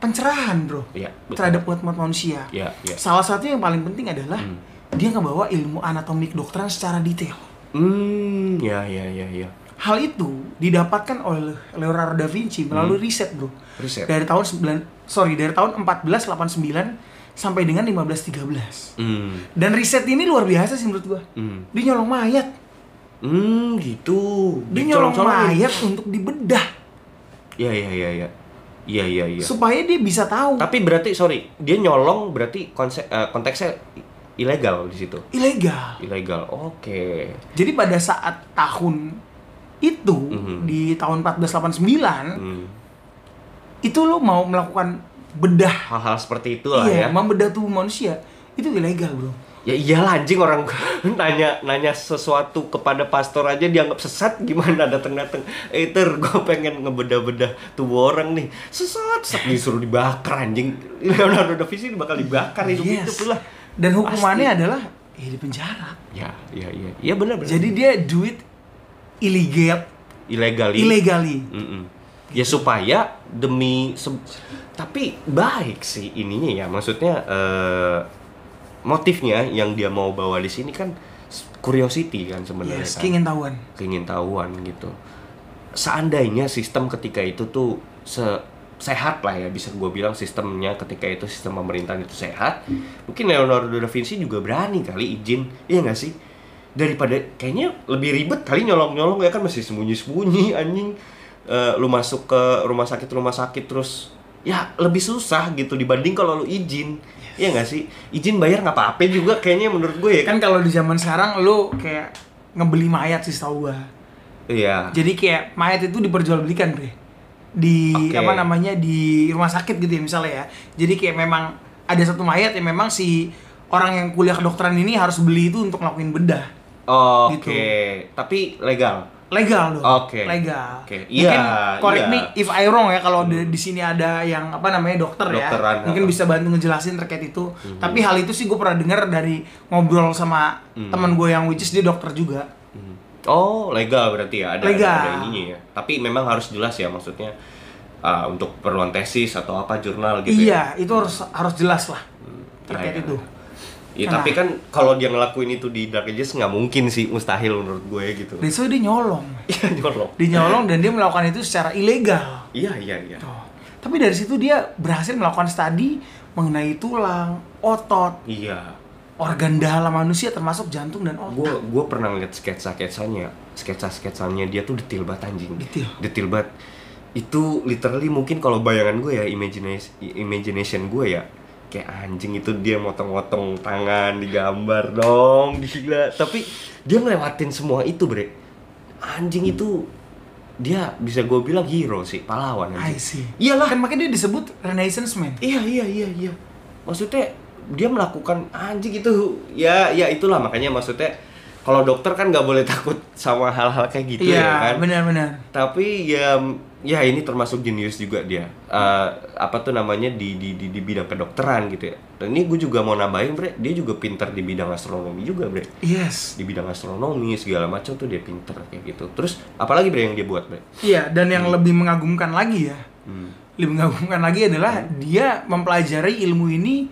Speaker 2: pencerahan bro
Speaker 3: Iya, betul.
Speaker 2: terhadap umat-umat manusia.
Speaker 3: Iya, iya. Mhm.
Speaker 2: Salah satu yang paling penting adalah dia ngebawa ilmu anatomi kedokteran secara detail.
Speaker 3: Hmm, ya ya ya ya.
Speaker 2: Hal itu didapatkan oleh Leonardo da Vinci melalui riset, Bro.
Speaker 3: Mhm. Riset.
Speaker 2: Dari tahun 9 sorry, dari tahun 1489 sampai dengan 1513.
Speaker 3: Hmm,
Speaker 2: Dan riset ini luar biasa sih menurut gua.
Speaker 3: hmm,
Speaker 2: Dia nyolong mayat.
Speaker 3: hmm gitu. ya?
Speaker 2: Dia nyolong
Speaker 3: Dicolong-colongin.
Speaker 2: mayat untuk dibedah
Speaker 3: Ya ya ya ya. Iya iya iya.
Speaker 2: supaya dia bisa tahu
Speaker 3: Tapi berarti sorry, dia nyolong berarti konsep eh, konteksnya i- ilegal di situ.
Speaker 2: ilegal.
Speaker 3: Ilegal. Oke.
Speaker 2: Jadi pada saat tahun itu
Speaker 3: Mhm.
Speaker 2: di tahun 1489
Speaker 3: Hmm.
Speaker 2: itu lo mau melakukan bedah
Speaker 3: Hal-hal seperti itulah
Speaker 2: iya,
Speaker 3: ya.
Speaker 2: membedah tubuh manusia itu ilegal, Bro.
Speaker 3: Ya iyalah anjing orang nanya nanya sesuatu kepada pastor aja dianggap sesat gimana datang-datang. Eh ter gue pengen ngebedah-bedah tubuh orang nih. Sesat, sesat disuruh dibakar anjing. Leonardo da Vinci bakal dibakar Kan hidup
Speaker 2: Yes.
Speaker 3: hidup lah.
Speaker 2: Dan hukumannya
Speaker 3: Pasti.
Speaker 2: adalah ya di penjara.
Speaker 3: Ya, ya, ya. Ya benar benar.
Speaker 2: Jadi dia do it illegal,
Speaker 3: ilegal
Speaker 2: illegally.
Speaker 3: Mm-mm. Ya supaya demi se- tapi baik sih ininya ya maksudnya eh, motifnya yang dia mau bawa di sini kan s- curiosity kan sebenarnya
Speaker 2: Yes,
Speaker 3: kan.
Speaker 2: keingin tahuan.
Speaker 3: Keingintahuan gitu. Seandainya sistem ketika itu tuh se- sehat lah ya bisa gue bilang sistemnya ketika itu sistem pemerintahan itu sehat mungkin Leonardo da Vinci juga berani kali izin iya nggak sih daripada kayaknya lebih ribet kali nyolong nyolong ya kan masih sembunyi sembunyi anjing Eh, lu masuk ke rumah sakit rumah sakit terus ya lebih susah gitu dibanding kalau lu izin iya nggak sih izin bayar nggak apa-apa juga kayaknya menurut gue ya kan
Speaker 2: Kan kalau di zaman sekarang lu kayak ngebeli mayat sih setahu gua.
Speaker 3: iya
Speaker 2: Jadi kayak mayat itu diperjualbelikan, Bre. Di
Speaker 3: Oke.
Speaker 2: apa namanya? di rumah sakit gitu ya misalnya ya. Jadi kayak memang ada satu mayat yang memang si orang yang kuliah kedokteran ini harus beli itu untuk ngelakuin bedah.
Speaker 3: Oke,
Speaker 2: Gitu.
Speaker 3: tapi legal.
Speaker 2: Legal dong.
Speaker 3: Oke.
Speaker 2: Legal.
Speaker 3: Oke.
Speaker 2: Mungkin
Speaker 3: Iya,
Speaker 2: correct
Speaker 3: iya. Hmm.
Speaker 2: me if I wrong ya kalau di, di sini ada yang apa namanya dokter
Speaker 3: Dokteran, Hmm.
Speaker 2: ya. Mungkin
Speaker 3: ha.
Speaker 2: bisa bantu ngejelasin terkait itu. Tapi hal itu sih gue pernah dengar dari ngobrol sama
Speaker 3: Hmm.
Speaker 2: teman gue yang which is dia dokter juga.
Speaker 3: Oh, legal berarti ya ada
Speaker 2: Legal.
Speaker 3: ada, ada ininya ya. Tapi memang harus jelas ya maksudnya ah, untuk perluan tesis atau apa jurnal gitu ya.
Speaker 2: Iya, itu harus harus jelas lah terkait
Speaker 3: Nah, ya.
Speaker 2: itu.
Speaker 3: Iya,
Speaker 2: Nah.
Speaker 3: tapi kan kalau dia ngelakuin itu di Dark Ages nggak mungkin sih, mustahil menurut gue gitu.
Speaker 2: Dan so, dia nyolong.
Speaker 3: Iya, nyolong.
Speaker 2: Dia nyolong dan dia melakukan itu secara ilegal.
Speaker 3: Iya, iya, iya.
Speaker 2: Tuh. Tapi dari situ dia berhasil melakukan studi mengenai tulang, otot,
Speaker 3: Iya.
Speaker 2: organ dalam manusia termasuk jantung dan otak.
Speaker 3: Gue gue pernah ngeliat sketsa-sketsanya, sketsa-sketsanya dia tuh detail banget anjing.
Speaker 2: Detail.
Speaker 3: Detail banget. Itu literally mungkin kalau bayangan gue ya, imagination imagination gue ya kayak anjing itu dia motong-motong tangan digambar dong gila tapi dia ngelewatin semua itu bre anjing itu dia bisa gue bilang hero sih pahlawan
Speaker 2: I
Speaker 3: anjing
Speaker 2: see.
Speaker 3: iyalah
Speaker 2: Kan makanya dia disebut Renaissance Man.
Speaker 3: Iya iya iya iya. Maksudnya dia melakukan anjing itu ya ya itulah makanya maksudnya kalau dokter kan nggak boleh takut sama hal-hal kayak gitu
Speaker 2: Iya,
Speaker 3: ya kan.
Speaker 2: benar-benar.
Speaker 3: Tapi ya ya ini termasuk jenius juga dia. Eh, apa tuh namanya di, di di di bidang kedokteran gitu ya. Dan ini gue juga mau nambahin bre, dia juga pintar di bidang astronomi juga bre.
Speaker 2: Yes.
Speaker 3: Di bidang astronomi segala macam tuh dia pintar kayak gitu. Terus apalagi bre yang dia buat bre?
Speaker 2: Iya, dan yang
Speaker 3: Hmm.
Speaker 2: lebih mengagumkan lagi ya. Lebih mengagumkan lagi adalah
Speaker 3: Hmm.
Speaker 2: dia mempelajari ilmu ini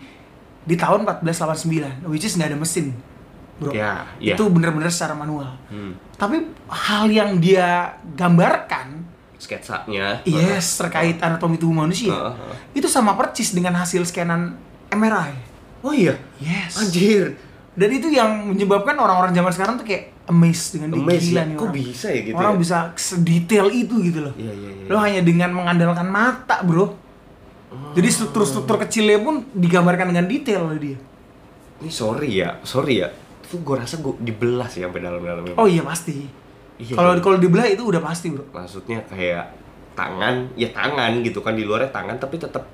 Speaker 2: di tahun 1489, which is nggak ada mesin. Bro.
Speaker 3: Ya, iya.
Speaker 2: Itu benar-benar secara manual.
Speaker 3: Hmm.
Speaker 2: Tapi hal yang dia gambarkan,
Speaker 3: Sketsanya.
Speaker 2: yes, terkait anatomi tubuh manusia,
Speaker 3: Iya. Heeh, heeh.
Speaker 2: itu sama persis dengan hasil scanan MRI.
Speaker 3: Oh iya.
Speaker 2: Yes.
Speaker 3: Anjir.
Speaker 2: Dan itu yang menyebabkan orang-orang zaman sekarang tuh kayak amazed dengan dia,
Speaker 3: Amazed
Speaker 2: gila
Speaker 3: ya?
Speaker 2: nih
Speaker 3: Kok
Speaker 2: orang.
Speaker 3: bisa ya gitu
Speaker 2: Orang
Speaker 3: ya?
Speaker 2: bisa sedetail itu gitu loh.
Speaker 3: Iya, iya, iya. Ah.
Speaker 2: Lo hanya dengan mengandalkan mata, Bro. Jadi struktur-struktur kecilnya pun digambarkan dengan detail oleh dia.
Speaker 3: Ini sorry ya, sorry ya. Itu gue rasa gue dibelas ya sampai dalam-dalamnya.
Speaker 2: Oh iya pasti.
Speaker 3: Iya.
Speaker 2: Kalau kalau dibelah itu udah pasti, Bro.
Speaker 3: Maksudnya kayak tangan, ya tangan gitu kan di luarnya tangan tapi tetap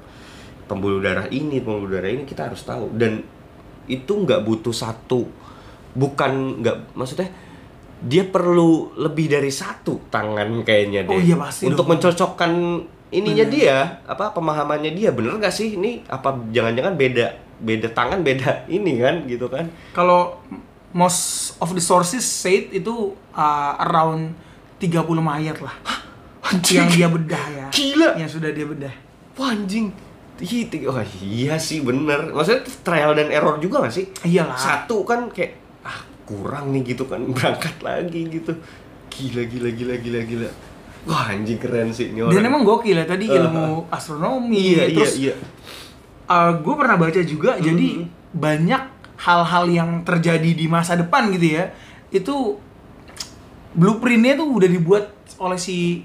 Speaker 3: pembuluh darah ini, pembuluh darah ini kita harus tahu dan itu nggak butuh satu bukan nggak maksudnya dia perlu lebih dari satu tangan kayaknya deh
Speaker 2: Oh iya, pasti
Speaker 3: untuk
Speaker 2: dong.
Speaker 3: mencocokkan ininya dia apa pemahamannya dia bener nggak sih ini apa jangan-jangan beda beda tangan beda ini kan gitu kan
Speaker 2: Kalau most of the sources said itu uh, around 30 mayat lah. yang dia bedah ya.
Speaker 3: Gila.
Speaker 2: Yang sudah dia bedah.
Speaker 3: Wah anjing Ih, tiga- Oh iya sih bener Maksudnya trial dan error juga gak sih?
Speaker 2: Iyalah.
Speaker 3: Satu kan kayak Ah kurang nih gitu kan Berangkat lagi gitu Gila gila gila gila gila Wah anjing keren sih ini orang
Speaker 2: Dan emang gokil ya tadi
Speaker 3: Eh,
Speaker 2: ilmu astronomi,
Speaker 3: Iya iya
Speaker 2: terus
Speaker 3: iya Mm-hmm.
Speaker 2: gue pernah baca juga jadi banyak hal-hal yang terjadi di masa depan gitu ya itu blueprintnya tuh udah dibuat oleh si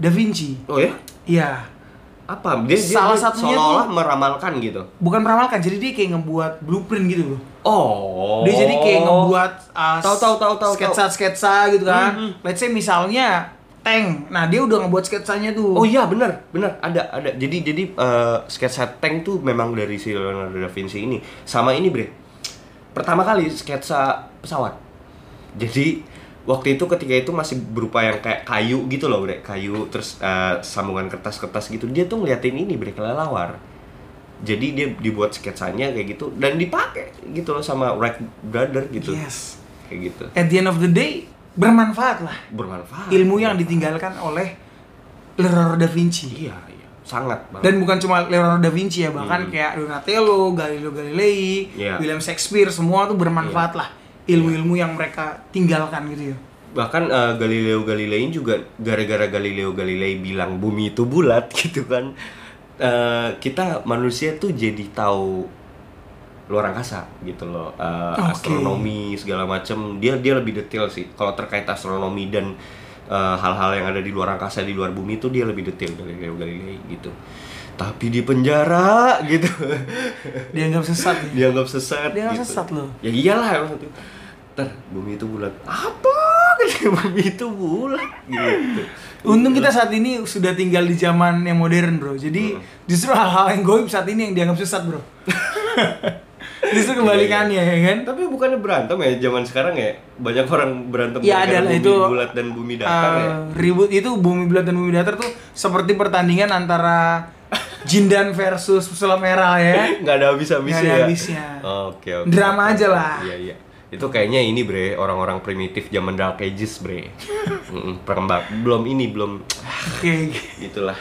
Speaker 2: Da Vinci
Speaker 3: Oh ya?
Speaker 2: ya
Speaker 3: Apa? Dia, dia
Speaker 2: Salah
Speaker 3: dia
Speaker 2: satunya
Speaker 3: seolah-olah
Speaker 2: tuh-
Speaker 3: meramalkan gitu
Speaker 2: bukan meramalkan jadi dia kayak ngebuat blueprint gitu loh
Speaker 3: Oh
Speaker 2: dia jadi kayak ngebuat uh,
Speaker 3: Tahu, tahu, tahu, tahu,
Speaker 2: sketsa sketsa gitu kan
Speaker 3: Hmm,
Speaker 2: let's say misalnya tank nah dia udah ngebuat sketsanya tuh
Speaker 3: Oh iya benar benar ada ada jadi jadi eh, sketsa tank tuh memang dari si Leonardo da Vinci ini sama ini bre pertama kali sketsa pesawat jadi waktu itu ketika itu masih berupa yang kayak kayu gitu loh bre kayu terus eh, sambungan kertas-kertas gitu dia tuh ngeliatin ini bre kelelawar jadi dia dibuat sketsanya kayak gitu dan dipakai gitu loh sama Wright brother gitu
Speaker 2: yes
Speaker 3: kayak gitu
Speaker 2: at the end of the day bermanfaat lah
Speaker 3: bermanfaat
Speaker 2: ilmu yang ditinggalkan oleh Leonardo da Vinci
Speaker 3: iya iya sangat banget.
Speaker 2: Dan bukan cuma Leonardo da Vinci ya, bahkan kayak Donatello, Galileo Galilei,
Speaker 3: Hmm. Iya.
Speaker 2: William Shakespeare, semua tuh bermanfaat lah ilmu-ilmu yang mereka tinggalkan gitu ya.
Speaker 3: bahkan eh, Galileo Galilei juga gara-gara Galileo Galilei bilang bumi itu bulat gitu kan eh, kita manusia tuh jadi tahu luar angkasa gitu loh Eh,
Speaker 2: Oke.
Speaker 3: astronomi segala macem dia dia lebih detail sih kalau terkait astronomi dan eh, hal-hal yang ada di luar angkasa di luar bumi itu dia lebih detail Galileo Galilei gitu tapi di penjara gitu
Speaker 2: Dianggap sesat ya.
Speaker 3: dianggap sesat
Speaker 2: Dianggap
Speaker 3: gitu.
Speaker 2: sesat loh.
Speaker 3: ya iyalah emang satu ter bumi itu bulat apa Kata, bumi itu bulat gitu
Speaker 2: Untung kita saat ini sudah tinggal di zaman yang modern bro Jadi
Speaker 3: Hmm.
Speaker 2: justru hal-hal yang goib saat ini yang dianggap sesat bro
Speaker 3: Iya,
Speaker 2: Justru kebalikannya ya kan
Speaker 3: tapi bukannya berantem ya zaman sekarang ya banyak orang berantem
Speaker 2: Ya
Speaker 3: gara-gara
Speaker 2: adalah
Speaker 3: bumi
Speaker 2: itu
Speaker 3: bulat dan bumi datar ya
Speaker 2: eh, Ribut itu bumi bulat dan bumi datar tuh Seperti pertandingan antara Jindan versus Sulap Merah ya
Speaker 3: nggak ada habis-habisnya
Speaker 2: Nggak ada
Speaker 3: ya?
Speaker 2: habisnya.
Speaker 3: oke oke
Speaker 2: Drama
Speaker 3: oke.
Speaker 2: aja lah.
Speaker 3: iya iya itu kayaknya ini bre orang-orang primitif zaman dark ages bre Mm, perkembang belum ini belum
Speaker 2: Oke
Speaker 3: itulah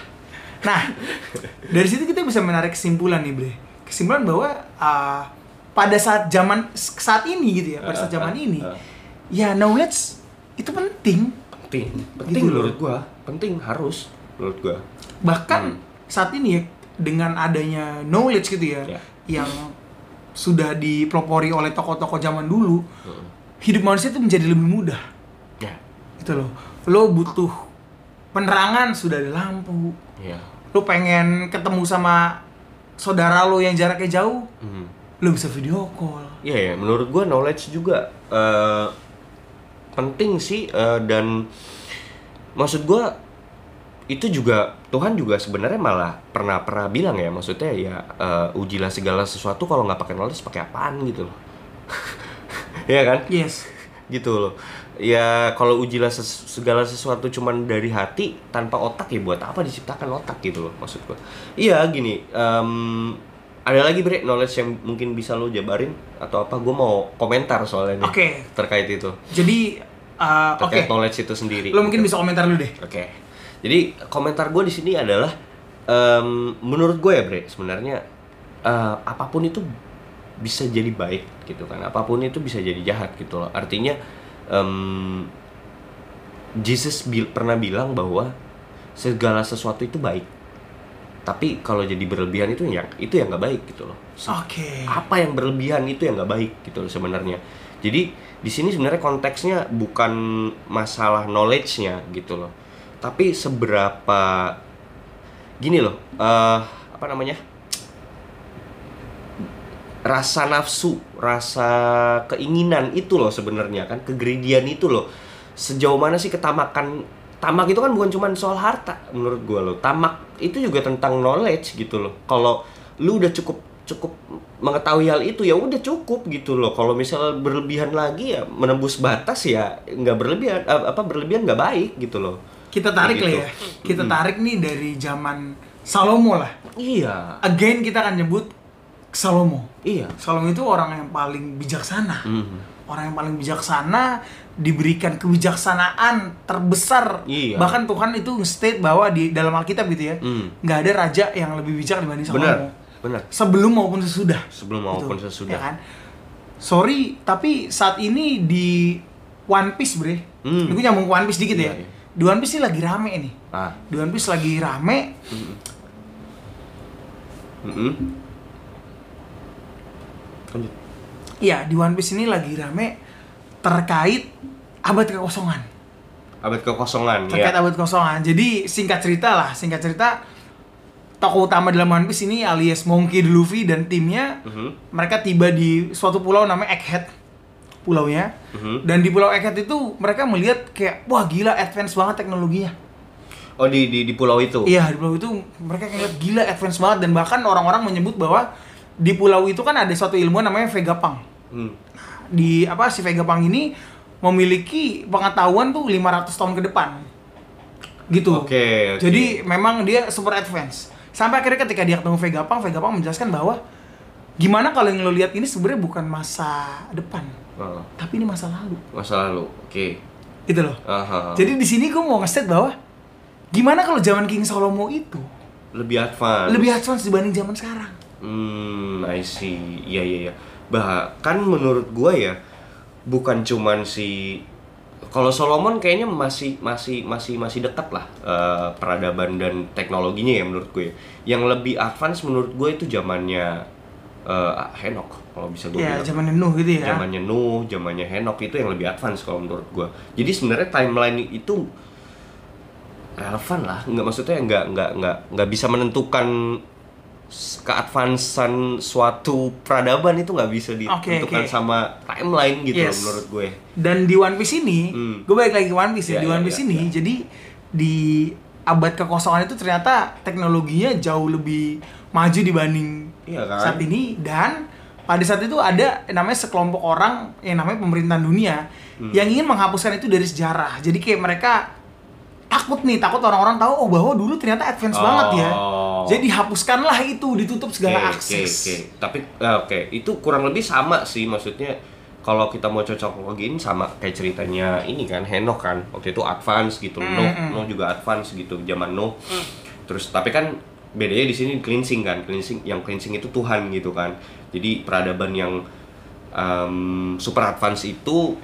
Speaker 2: Nah, dari situ kita bisa menarik kesimpulan nih, Bre. Kesimpulan bahwa uh, pada saat zaman saat ini gitu ya, pada saat zaman ini,
Speaker 3: Ah, ah, ah.
Speaker 2: ya knowledge itu penting.
Speaker 3: penting penting
Speaker 2: Gitu loh.
Speaker 3: menurut gua penting harus menurut gua
Speaker 2: Bahkan saat ini ya dengan adanya knowledge gitu ya,
Speaker 3: Ya.
Speaker 2: yang sudah dipelopori oleh tokoh-tokoh zaman dulu,
Speaker 3: Hmm.
Speaker 2: hidup manusia itu menjadi lebih mudah.
Speaker 3: ya
Speaker 2: Gitu loh. Lo butuh penerangan sudah ada lampu.
Speaker 3: ya
Speaker 2: Lo pengen ketemu sama saudara lo yang jaraknya jauh,
Speaker 3: Mhm.
Speaker 2: lo bisa video call
Speaker 3: Iya ya, menurut gua knowledge juga eh, penting sih eh, dan maksud gua itu juga Tuhan juga sebenarnya malah pernah pernah bilang ya maksudnya ya eh, ujilah segala sesuatu kalau nggak pakai knowledge pakai apaan gitu loh. Iya kan?
Speaker 2: yes
Speaker 3: Gitu loh. Ya kalau ujilah ses- segala sesuatu cuman dari hati tanpa otak ya buat apa diciptakan otak gitu loh maksud gua. Iya gini, em, ada lagi bre knowledge yang mungkin bisa lo jabarin atau apa? Gue mau komentar soalnya nih
Speaker 2: Oke.
Speaker 3: terkait itu,
Speaker 2: jadi uh, oke
Speaker 3: terkait knowledge itu sendiri.
Speaker 2: lo mungkin
Speaker 3: gitu.
Speaker 2: bisa komentar dulu deh
Speaker 3: Oke. Jadi komentar gue di sini adalah em, menurut gue ya Bre, sebenarnya eh, apapun itu bisa jadi baik gitu kan. Apapun itu bisa jadi jahat gitu loh. Artinya em, Jesus bil- pernah bilang bahwa segala sesuatu itu baik. Tapi kalau jadi berlebihan itu yang itu yang nggak baik gitu loh
Speaker 2: oke
Speaker 3: apa yang berlebihan itu yang nggak baik gitu loh sebenarnya. Jadi di sini sebenarnya konteksnya bukan masalah knowledge-nya gitu loh. Tapi seberapa gini loh, eh apa namanya? rasa nafsu, rasa keinginan itu loh sebenarnya kan kegeridian itu loh. Sejauh mana sih ketamakan tamak itu kan bukan cuma soal harta menurut gua loh. Tamak itu juga tentang knowledge gitu loh. Kalau lu udah cukup cukup mengetahui hal itu ya udah cukup gitu loh. Kalau misal berlebihan lagi ya menembus batas ya nggak berlebihan eh, apa berlebihan nggak baik gitu loh.
Speaker 2: kita tarik
Speaker 3: Gitu.
Speaker 2: lah ya kita tarik nih dari zaman Salomo lah
Speaker 3: Iya.
Speaker 2: again kita akan nyebut Salomo
Speaker 3: Iya.
Speaker 2: Salomo itu orang yang paling bijaksana
Speaker 3: Mhm.
Speaker 2: orang yang paling bijaksana diberikan kebijaksanaan terbesar
Speaker 3: Iya.
Speaker 2: bahkan Tuhan itu state bahwa di dalam Alkitab gitu ya
Speaker 3: Hmm.
Speaker 2: nggak ada raja yang lebih bijak dibanding Salomo
Speaker 3: Benar. Benar.
Speaker 2: sebelum maupun sesudah
Speaker 3: Sebelum
Speaker 2: Gitu,
Speaker 3: maupun
Speaker 2: ya
Speaker 3: sesudah.
Speaker 2: kan? sorry tapi saat ini di One Piece bre ini
Speaker 3: Hmm.
Speaker 2: gue nyambung ke One Piece dikit
Speaker 3: Iya,
Speaker 2: ya
Speaker 3: iya.
Speaker 2: di One Piece ini lagi rame nih
Speaker 3: Ah.
Speaker 2: di One Piece lagi rame
Speaker 3: Mm-mm. Lanjut.
Speaker 2: ya di One Piece ini lagi rame terkait abad kekosongan
Speaker 3: Abad kekosongan
Speaker 2: terkait
Speaker 3: ya.
Speaker 2: abad kekosongan jadi singkat cerita lah singkat cerita tokoh utama dalam One Piece ini alias Monkey D. Luffy dan timnya
Speaker 3: Mhm.
Speaker 2: mereka tiba di suatu pulau namanya Egghead pulaunya
Speaker 3: Mhm.
Speaker 2: dan di pulau Egghead itu mereka melihat kayak wah gila advance banget teknologinya
Speaker 3: Oh di, di di pulau itu.
Speaker 2: Iya di pulau itu mereka ngeliat gila advance banget dan bahkan orang-orang menyebut bahwa di pulau itu kan ada suatu ilmu namanya Vegapunk.
Speaker 3: Hmm.
Speaker 2: Di apa si Vegapunk ini memiliki pengetahuan tuh 500 tahun ke depan. Gitu.
Speaker 3: Oke, oke.
Speaker 2: Jadi memang dia super advance. Sampai akhirnya ketika dia ketemu Vegapunk, Vegapunk menjelaskan bahwa gimana kalau yang lo lihat ini sebenarnya bukan masa depan,
Speaker 3: Oh,
Speaker 2: tapi ini masa lalu.
Speaker 3: masa lalu. Oke.
Speaker 2: Gitu loh.
Speaker 3: Aha.
Speaker 2: Jadi di sini gue mau nge-state bahwa gimana kalau zaman King Salomo itu
Speaker 3: lebih advance.
Speaker 2: Lebih advance dibanding zaman sekarang.
Speaker 3: Hmm, I see. Iya, iya, iya. Bahkan menurut gua ya, bukan cuman si kalau Solomon kayaknya masih masih masih masih dekat lah eh, peradaban dan teknologinya ya menurut gue. Yang lebih advance menurut gue itu zamannya eh Henok kalau bisa gue
Speaker 2: Ya,
Speaker 3: bilang.
Speaker 2: zamannya Nuh gitu ya.
Speaker 3: Zamannya Nuh, zamannya Henok itu yang lebih advance kalau menurut gua. Jadi sebenarnya timeline itu relevan lah, nggak maksudnya nggak nggak nggak nggak bisa menentukan s- keadvansan suatu peradaban itu nggak bisa
Speaker 2: Oke,
Speaker 3: ditentukan
Speaker 2: oke.
Speaker 3: sama timeline gitu loh
Speaker 2: Yes.
Speaker 3: menurut gue.
Speaker 2: Dan di One Piece ini,
Speaker 3: Hmm.
Speaker 2: gue balik lagi ke One Piece ya.
Speaker 3: Iya,
Speaker 2: Di
Speaker 3: iya,
Speaker 2: One Piece
Speaker 3: iya,
Speaker 2: ini, jadi di abad kekosongan itu ternyata teknologinya jauh lebih maju dibanding
Speaker 3: Iya kan?
Speaker 2: saat ini dan pada saat itu ada yang namanya sekelompok orang yang namanya pemerintahan dunia
Speaker 3: Hmm.
Speaker 2: yang ingin menghapuskan itu dari sejarah. Jadi kayak mereka takut nih, takut orang-orang tahu oh bahwa dulu ternyata advance
Speaker 3: Oh.
Speaker 2: banget ya. Jadi hapuskanlah itu, ditutup
Speaker 3: Oke,
Speaker 2: segala
Speaker 3: oke,
Speaker 2: akses.
Speaker 3: oke. Tapi eh, oke, itu kurang lebih sama sih maksudnya kalau kita mau cocokologiin sama kayak ceritanya ini kan Henok kan waktu itu advance gitu.
Speaker 2: Mm,
Speaker 3: Noh,
Speaker 2: mm.
Speaker 3: Noh juga advance gitu zaman Noh.
Speaker 2: Hmm.
Speaker 3: Terus tapi kan bedanya di sini cleansing kan. Cleansing yang cleansing itu Tuhan gitu kan. Jadi peradaban yang em, super advance itu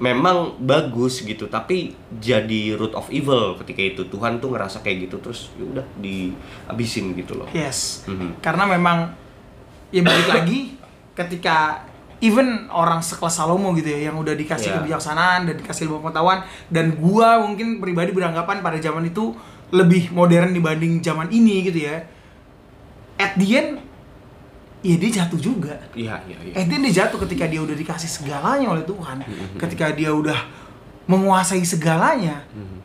Speaker 3: memang bagus gitu tapi jadi root of evil ketika itu Tuhan tuh ngerasa kayak gitu terus ya udah dihabisin gitu loh.
Speaker 2: Yes.
Speaker 3: Mhm.
Speaker 2: Karena memang ya balik lagi ketika even orang sekelas Salomo gitu ya yang udah dikasih
Speaker 3: Iya.
Speaker 2: kebijaksanaan dan dikasih ilmu pengetahuan dan gua mungkin pribadi beranggapan pada zaman itu lebih modern dibanding zaman ini gitu ya. At the end ya dia jatuh juga.
Speaker 3: Iya, iya, iya.
Speaker 2: At the end Eh, dia jatuh ketika dia udah dikasih segalanya oleh Tuhan.
Speaker 3: Mm-hmm.
Speaker 2: Ketika dia udah menguasai segalanya
Speaker 3: Mm-hmm.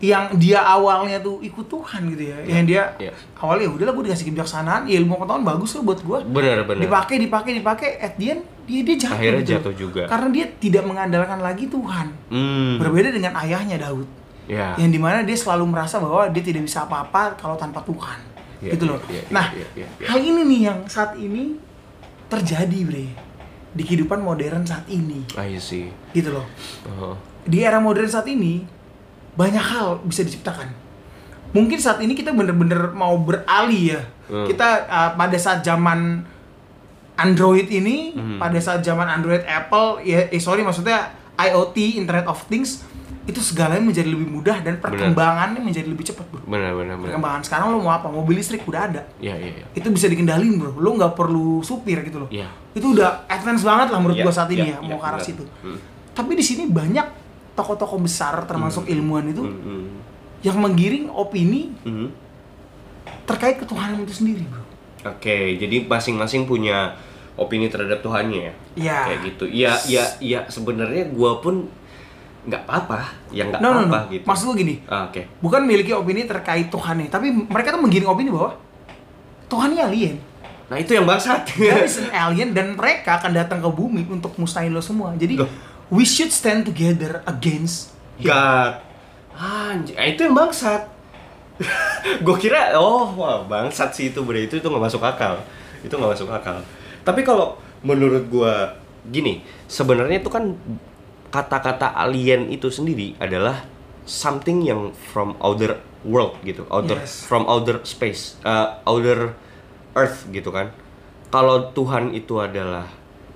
Speaker 2: yang dia awalnya tuh ikut Tuhan gitu ya. Yang dia
Speaker 3: Iya.
Speaker 2: awalnya "Ya udahlah gue dikasih kebijaksanaan, ya ilmu pengetahuan bagus lah buat gue.
Speaker 3: Benar, benar.
Speaker 2: Dipakai, dipakai, dipakai. At the end dia dia jatuh.
Speaker 3: Akhirnya
Speaker 2: gitu.
Speaker 3: jatuh juga.
Speaker 2: Karena dia tidak mengandalkan lagi Tuhan.
Speaker 3: Hmm.
Speaker 2: Berbeda dengan ayahnya Daud.
Speaker 3: Ya.
Speaker 2: Yang dimana dia selalu merasa bahwa dia tidak bisa apa-apa kalau tanpa Tuhan.
Speaker 3: Iya,
Speaker 2: gitu
Speaker 3: iya,
Speaker 2: loh.
Speaker 3: iya, iya,
Speaker 2: nah,
Speaker 3: iya, iya, iya.
Speaker 2: hal ini nih yang saat ini terjadi, Bre. Di kehidupan modern saat ini.
Speaker 3: I see.
Speaker 2: Gitu loh.
Speaker 3: Ah, iya Oh.
Speaker 2: Di era modern saat ini banyak hal bisa diciptakan. Mungkin saat ini kita bener-bener mau beralih ya.
Speaker 3: Hmm.
Speaker 2: Kita uh, pada saat zaman Android ini,
Speaker 3: Hmm.
Speaker 2: pada saat zaman Android Apple, ya eh, sorry maksudnya IoT Internet of Things itu segalanya menjadi lebih mudah dan perkembangannya menjadi lebih cepat, Bro.
Speaker 3: Benar, benar, benar.
Speaker 2: Perkembangan sekarang lo mau apa? Mobil listrik udah ada.
Speaker 3: Iya, iya, iya.
Speaker 2: Itu bisa dikendalin, Bro. Lo nggak perlu supir gitu loh.
Speaker 3: Iya.
Speaker 2: Itu udah advance banget lah menurut
Speaker 3: Iya,
Speaker 2: gua saat ini
Speaker 3: iya,
Speaker 2: ya, mau
Speaker 3: iya,
Speaker 2: ke arah
Speaker 3: benar.
Speaker 2: situ.
Speaker 3: Hmm.
Speaker 2: Tapi di sini banyak tokoh-tokoh besar termasuk ilmuwan itu
Speaker 3: Hmm, hmm,
Speaker 2: yang menggiring opini
Speaker 3: hmm.
Speaker 2: terkait ketuhanan itu sendiri, Bro.
Speaker 3: Oke, jadi masing-masing punya opini terhadap Tuhannya ya.
Speaker 2: Iya.
Speaker 3: Kayak gitu. Iya, iya, iya. Sebenarnya gua pun nggak apa-apa, ya nggak
Speaker 2: No, no, no.
Speaker 3: apa-apa gitu.
Speaker 2: Maksud gua gini,
Speaker 3: Ah, Oke.
Speaker 2: bukan miliki opini terkait Tuhan nih, tapi mereka tuh menggiring opini bahwa Tuhan ini alien.
Speaker 3: Nah, itu yang bangsat.
Speaker 2: Dia is an alien dan mereka akan datang ke bumi untuk musnahin lo semua. Jadi
Speaker 3: Loh.
Speaker 2: we should stand together against
Speaker 3: God. Anjir, ah, itu yang bangsat. gue kira, oh wah, bangsat sih itu berarti itu itu nggak masuk akal. Itu nggak masuk akal. Tapi kalau menurut gue gini, sebenarnya itu kan kata-kata alien itu sendiri adalah something yang from outer world gitu, outer
Speaker 2: Yes.
Speaker 3: from outer space, uh, outer earth gitu kan. Kalau Tuhan itu adalah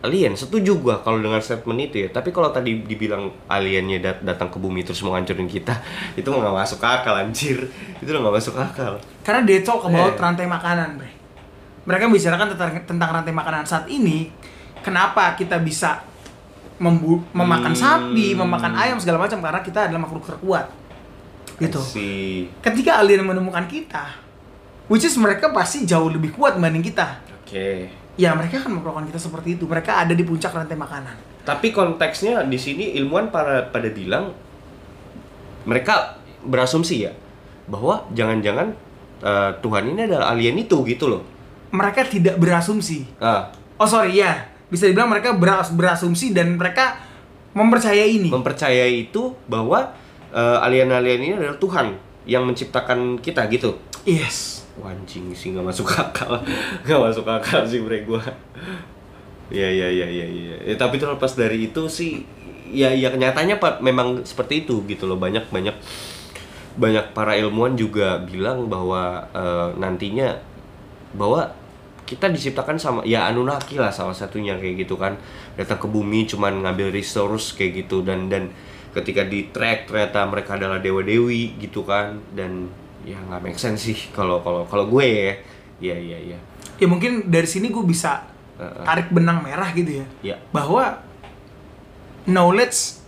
Speaker 3: alien, setuju gua kalau dengan statement itu ya. Tapi kalau tadi dibilang aliennya dat- datang ke bumi terus mau ngancurin kita, itu nggak masuk akal anjir. Itu udah nggak masuk akal.
Speaker 2: Karena dia cok ke bawah
Speaker 3: Eh.
Speaker 2: rantai makanan, bre. Mereka membicarakan tentang, tentang rantai makanan saat ini. Kenapa kita bisa membu- memakan sapi, memakan ayam segala macam karena kita adalah makhluk terkuat. Gitu.
Speaker 3: Si
Speaker 2: Ketika alien menemukan kita, which is mereka pasti jauh lebih kuat dibanding kita.
Speaker 3: Oke.
Speaker 2: Ya mereka akan memperlakukan kita seperti itu. Mereka ada di puncak rantai makanan.
Speaker 3: Tapi konteksnya di sini ilmuwan para pada bilang mereka berasumsi ya bahwa jangan-jangan eh, Tuhan ini adalah alien itu gitu loh.
Speaker 2: Mereka tidak berasumsi.
Speaker 3: Ah,
Speaker 2: Oh sorry ya, bisa dibilang mereka beras- berasumsi dan mereka mempercayai ini.
Speaker 3: mempercayai itu bahwa eh, alien-alien ini adalah Tuhan yang menciptakan kita gitu.
Speaker 2: yes.
Speaker 3: Wah, anjing sih nggak masuk akal, nggak masuk akal sih bre gue. Ya ya ya ya ya. Ya, Tapi terlepas dari itu sih, ya ya kenyataannya pak memang seperti itu gitu loh banyak banyak banyak para ilmuwan juga bilang bahwa eh, nantinya bahwa kita diciptakan sama ya Anunnaki lah salah satunya kayak gitu kan datang ke bumi cuman ngambil resource kayak gitu dan dan ketika di track ternyata mereka adalah dewa dewi gitu kan dan ya nggak make sense sih kalau kalau kalau gue ya ya ya ya
Speaker 2: ya mungkin dari sini gue bisa
Speaker 3: Heeh.
Speaker 2: tarik benang merah gitu ya
Speaker 3: Iya.
Speaker 2: bahwa knowledge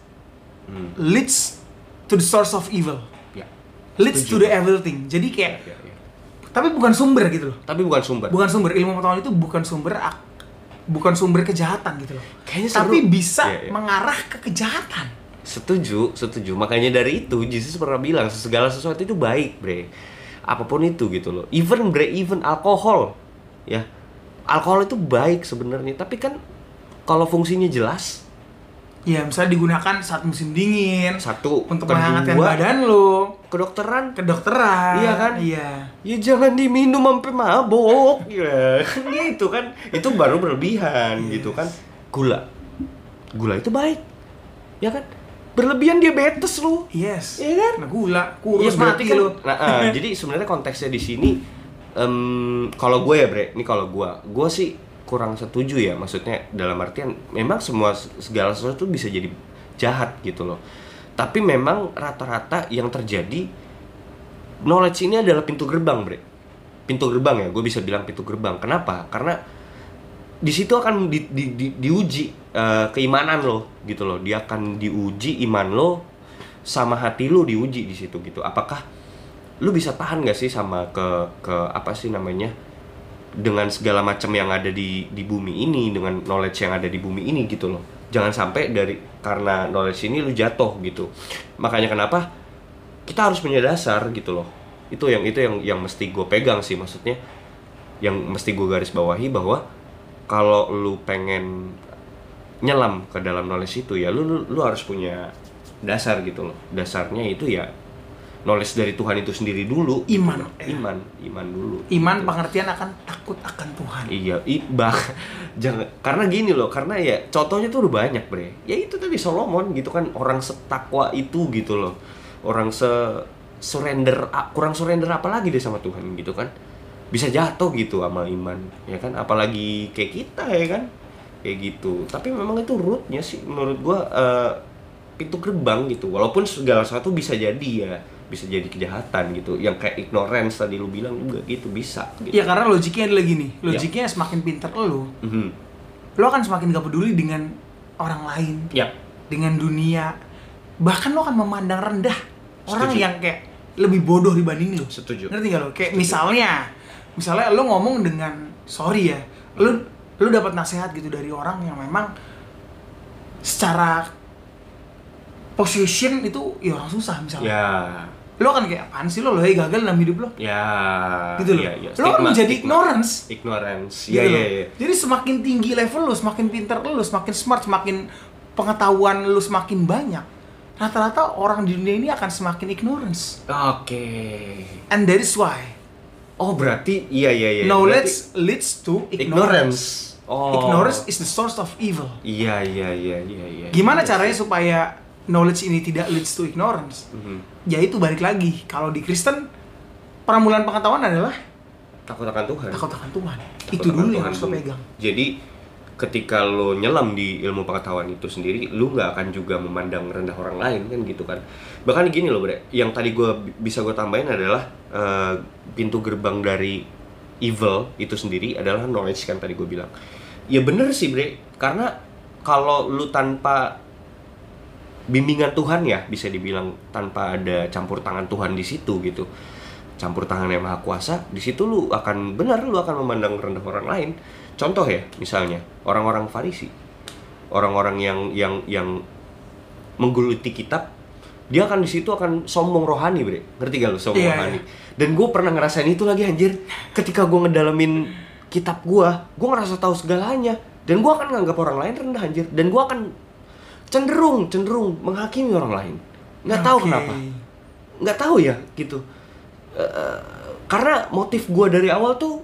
Speaker 3: Hmm.
Speaker 2: leads to the source of evil
Speaker 3: ya
Speaker 2: leads
Speaker 3: Setuju.
Speaker 2: to the everything jadi kayak
Speaker 3: ya, ya.
Speaker 2: tapi bukan sumber gitu loh
Speaker 3: tapi bukan sumber
Speaker 2: bukan sumber ilmu pengetahuan itu bukan sumber ak- bukan sumber kejahatan gitu loh
Speaker 3: Kayaknya seru.
Speaker 2: tapi bisa
Speaker 3: Iya, iya.
Speaker 2: mengarah ke kejahatan
Speaker 3: Setuju, setuju. Makanya dari itu Jesus pernah bilang segala sesuatu itu baik, Bre. Apapun itu gitu loh. Even Bre, even alkohol. Ya. Alkohol itu baik sebenarnya, tapi kan kalau fungsinya jelas,
Speaker 2: ya misalnya digunakan saat musim dingin
Speaker 3: satu
Speaker 2: untuk
Speaker 3: kedua,
Speaker 2: menghangatkan badan lo
Speaker 3: kedokteran
Speaker 2: kedokteran
Speaker 3: Iya kan?
Speaker 2: iya
Speaker 3: ya jangan diminum sampai mabok ya kan gitu kan itu baru berlebihan gitu kan gula gula itu baik ya kan berlebihan diabetes lu
Speaker 2: yes
Speaker 3: Iya
Speaker 2: nah
Speaker 3: kan?
Speaker 2: gula
Speaker 3: Iya
Speaker 2: kurus
Speaker 3: berarti
Speaker 2: mati
Speaker 3: kan.
Speaker 2: lo
Speaker 3: Nah, eh, jadi sebenarnya konteksnya di sini, em, kalau gue ya Bre, ini kalau gue, gue sih kurang setuju ya. Maksudnya dalam artian memang semua segala sesuatu bisa jadi jahat gitu loh. Tapi memang rata-rata yang terjadi knowledge ini adalah pintu gerbang Bre. Pintu gerbang ya, gue bisa bilang pintu gerbang. Kenapa? Karena di situ akan di- di- di- diuji eh, keimanan lo gitu loh dia akan diuji iman lo sama hati lo diuji di situ gitu apakah lu bisa tahan gak sih sama ke ke apa sih namanya dengan segala macam yang ada di di bumi ini dengan knowledge yang ada di bumi ini gitu loh jangan sampai dari karena knowledge ini lu jatuh gitu makanya kenapa kita harus punya dasar gitu loh itu yang itu yang yang mesti gue pegang sih maksudnya yang mesti gue garis bawahi bahwa kalau lu pengen nyelam ke dalam knowledge itu ya lu lu, lu harus punya dasar gitu loh dasarnya itu ya knowledge dari Tuhan itu sendiri dulu gitu
Speaker 2: Iman.
Speaker 3: loh. iman iman dulu
Speaker 2: iman
Speaker 3: Gitu.
Speaker 2: pengertian akan takut akan Tuhan
Speaker 3: Iya, ibah. Jangan karena gini loh, karena ya contohnya tuh udah banyak, Bre. Ya itu tadi Solomon gitu kan orang setakwa itu gitu loh. Orang se surrender a- kurang surrender apa lagi deh sama Tuhan gitu kan. Bisa jatuh gitu sama iman, ya kan? Apalagi kayak kita ya kan. Kayak gitu. Tapi memang itu rootnya sih menurut gua eh, pintu gerbang gitu. Walaupun segala sesuatu bisa jadi ya bisa jadi kejahatan gitu. Yang kayak ignorance tadi lu bilang juga gitu bisa gitu.
Speaker 2: ya karena logiknya adalah gini
Speaker 3: Iya.
Speaker 2: logiknya semakin pinter lo
Speaker 3: Mhm.
Speaker 2: lo akan semakin gak peduli dengan orang lain
Speaker 3: Yap.
Speaker 2: dengan dunia bahkan lo akan memandang rendah orang
Speaker 3: Setuju.
Speaker 2: yang kayak lebih bodoh dibanding lo
Speaker 3: Setuju.
Speaker 2: ngerti gak lo kayak misalnya misalnya lo ngomong dengan sorry ya lo lo dapat nasihat gitu dari orang yang memang secara position itu ya orang susah misalnya
Speaker 3: Ya,
Speaker 2: lo kan kayak apaan sih lo lo hey, gagal dalam hidup lo
Speaker 3: ya.
Speaker 2: gitu loh
Speaker 3: ya, ya.
Speaker 2: lo kan
Speaker 3: Stigma,
Speaker 2: menjadi
Speaker 3: stigma.
Speaker 2: ignorance
Speaker 3: Ignorance.
Speaker 2: gitu
Speaker 3: Ya,
Speaker 2: loh.
Speaker 3: ya, ya.
Speaker 2: Jadi semakin tinggi level lu, semakin pinter lu, semakin smart, semakin pengetahuan lu semakin banyak. Rata-rata orang di dunia ini akan semakin ignorance.
Speaker 3: Oke.
Speaker 2: And that is why
Speaker 3: Oh, berarti iya, iya, iya. Berarti
Speaker 2: knowledge leads to
Speaker 3: ignorance.
Speaker 2: ignorance.
Speaker 3: Oh.
Speaker 2: Ignorance is the source of evil.
Speaker 3: Iya, iya, iya, iya, iya.
Speaker 2: Gimana
Speaker 3: Iya
Speaker 2: caranya
Speaker 3: sih.
Speaker 2: supaya knowledge ini tidak leads to ignorance?
Speaker 3: Mhm.
Speaker 2: Ya itu balik lagi. Kalau di Kristen permulaan pengetahuan adalah
Speaker 3: Takut akan Tuhan.
Speaker 2: takut akan Tuhan.
Speaker 3: Takut
Speaker 2: itu
Speaker 3: akan
Speaker 2: dulu yang
Speaker 3: Tuhan
Speaker 2: harus lo pegang.
Speaker 3: Jadi ketika lo nyelam di ilmu pengetahuan itu sendiri, lo nggak akan juga memandang rendah orang lain kan gitu kan. Bahkan gini loh bre, yang tadi gua bisa gue tambahin adalah eh, pintu gerbang dari evil itu sendiri adalah knowledge kan tadi gue bilang. Ya bener sih bre, karena kalau lu tanpa bimbingan Tuhan ya bisa dibilang tanpa ada campur tangan Tuhan di situ gitu campur tangan yang maha kuasa di situ lu akan benar lu akan memandang rendah orang lain contoh ya misalnya orang-orang Farisi orang-orang yang yang yang menggeluti kitab dia akan di situ akan sombong rohani bre ngerti gak lu sombong
Speaker 2: Iya,
Speaker 3: rohani dan gue pernah ngerasain itu lagi anjir ketika gue ngedalamin kitab gue gue ngerasa tahu segalanya dan gue akan nganggap orang lain rendah anjir dan gue akan cenderung cenderung menghakimi orang lain nggak tahu
Speaker 2: Oke.
Speaker 3: kenapa nggak tahu ya gitu Eh, karena motif gue dari awal tuh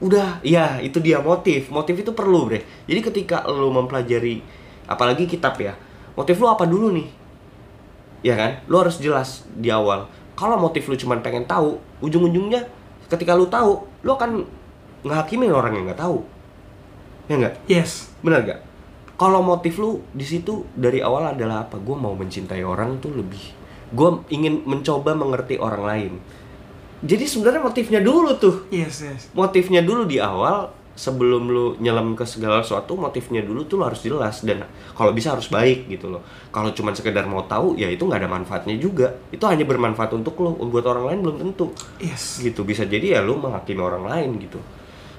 Speaker 3: udah ya itu dia motif motif itu perlu bre jadi ketika lo mempelajari apalagi kitab ya motif lo apa dulu nih ya kan lo harus jelas di awal kalau motif lu cuman pengen tahu ujung-ujungnya ketika lu tahu lu akan ngehakimin orang yang nggak tahu ya nggak
Speaker 2: Yes.
Speaker 3: benar gak? Kalau motif lu di situ dari awal adalah apa? Gue mau mencintai orang tuh lebih. Gue ingin mencoba mengerti orang lain. Jadi sebenarnya motifnya dulu tuh.
Speaker 2: Yes, yes.
Speaker 3: Motifnya dulu di awal sebelum lu nyelam ke segala sesuatu motifnya dulu tuh lu harus jelas dan kalau bisa harus baik gitu loh kalau cuman sekedar mau tahu ya itu nggak ada manfaatnya juga itu hanya bermanfaat untuk lo buat orang lain belum tentu
Speaker 2: Yes.
Speaker 3: gitu bisa jadi ya lu menghakimi orang lain gitu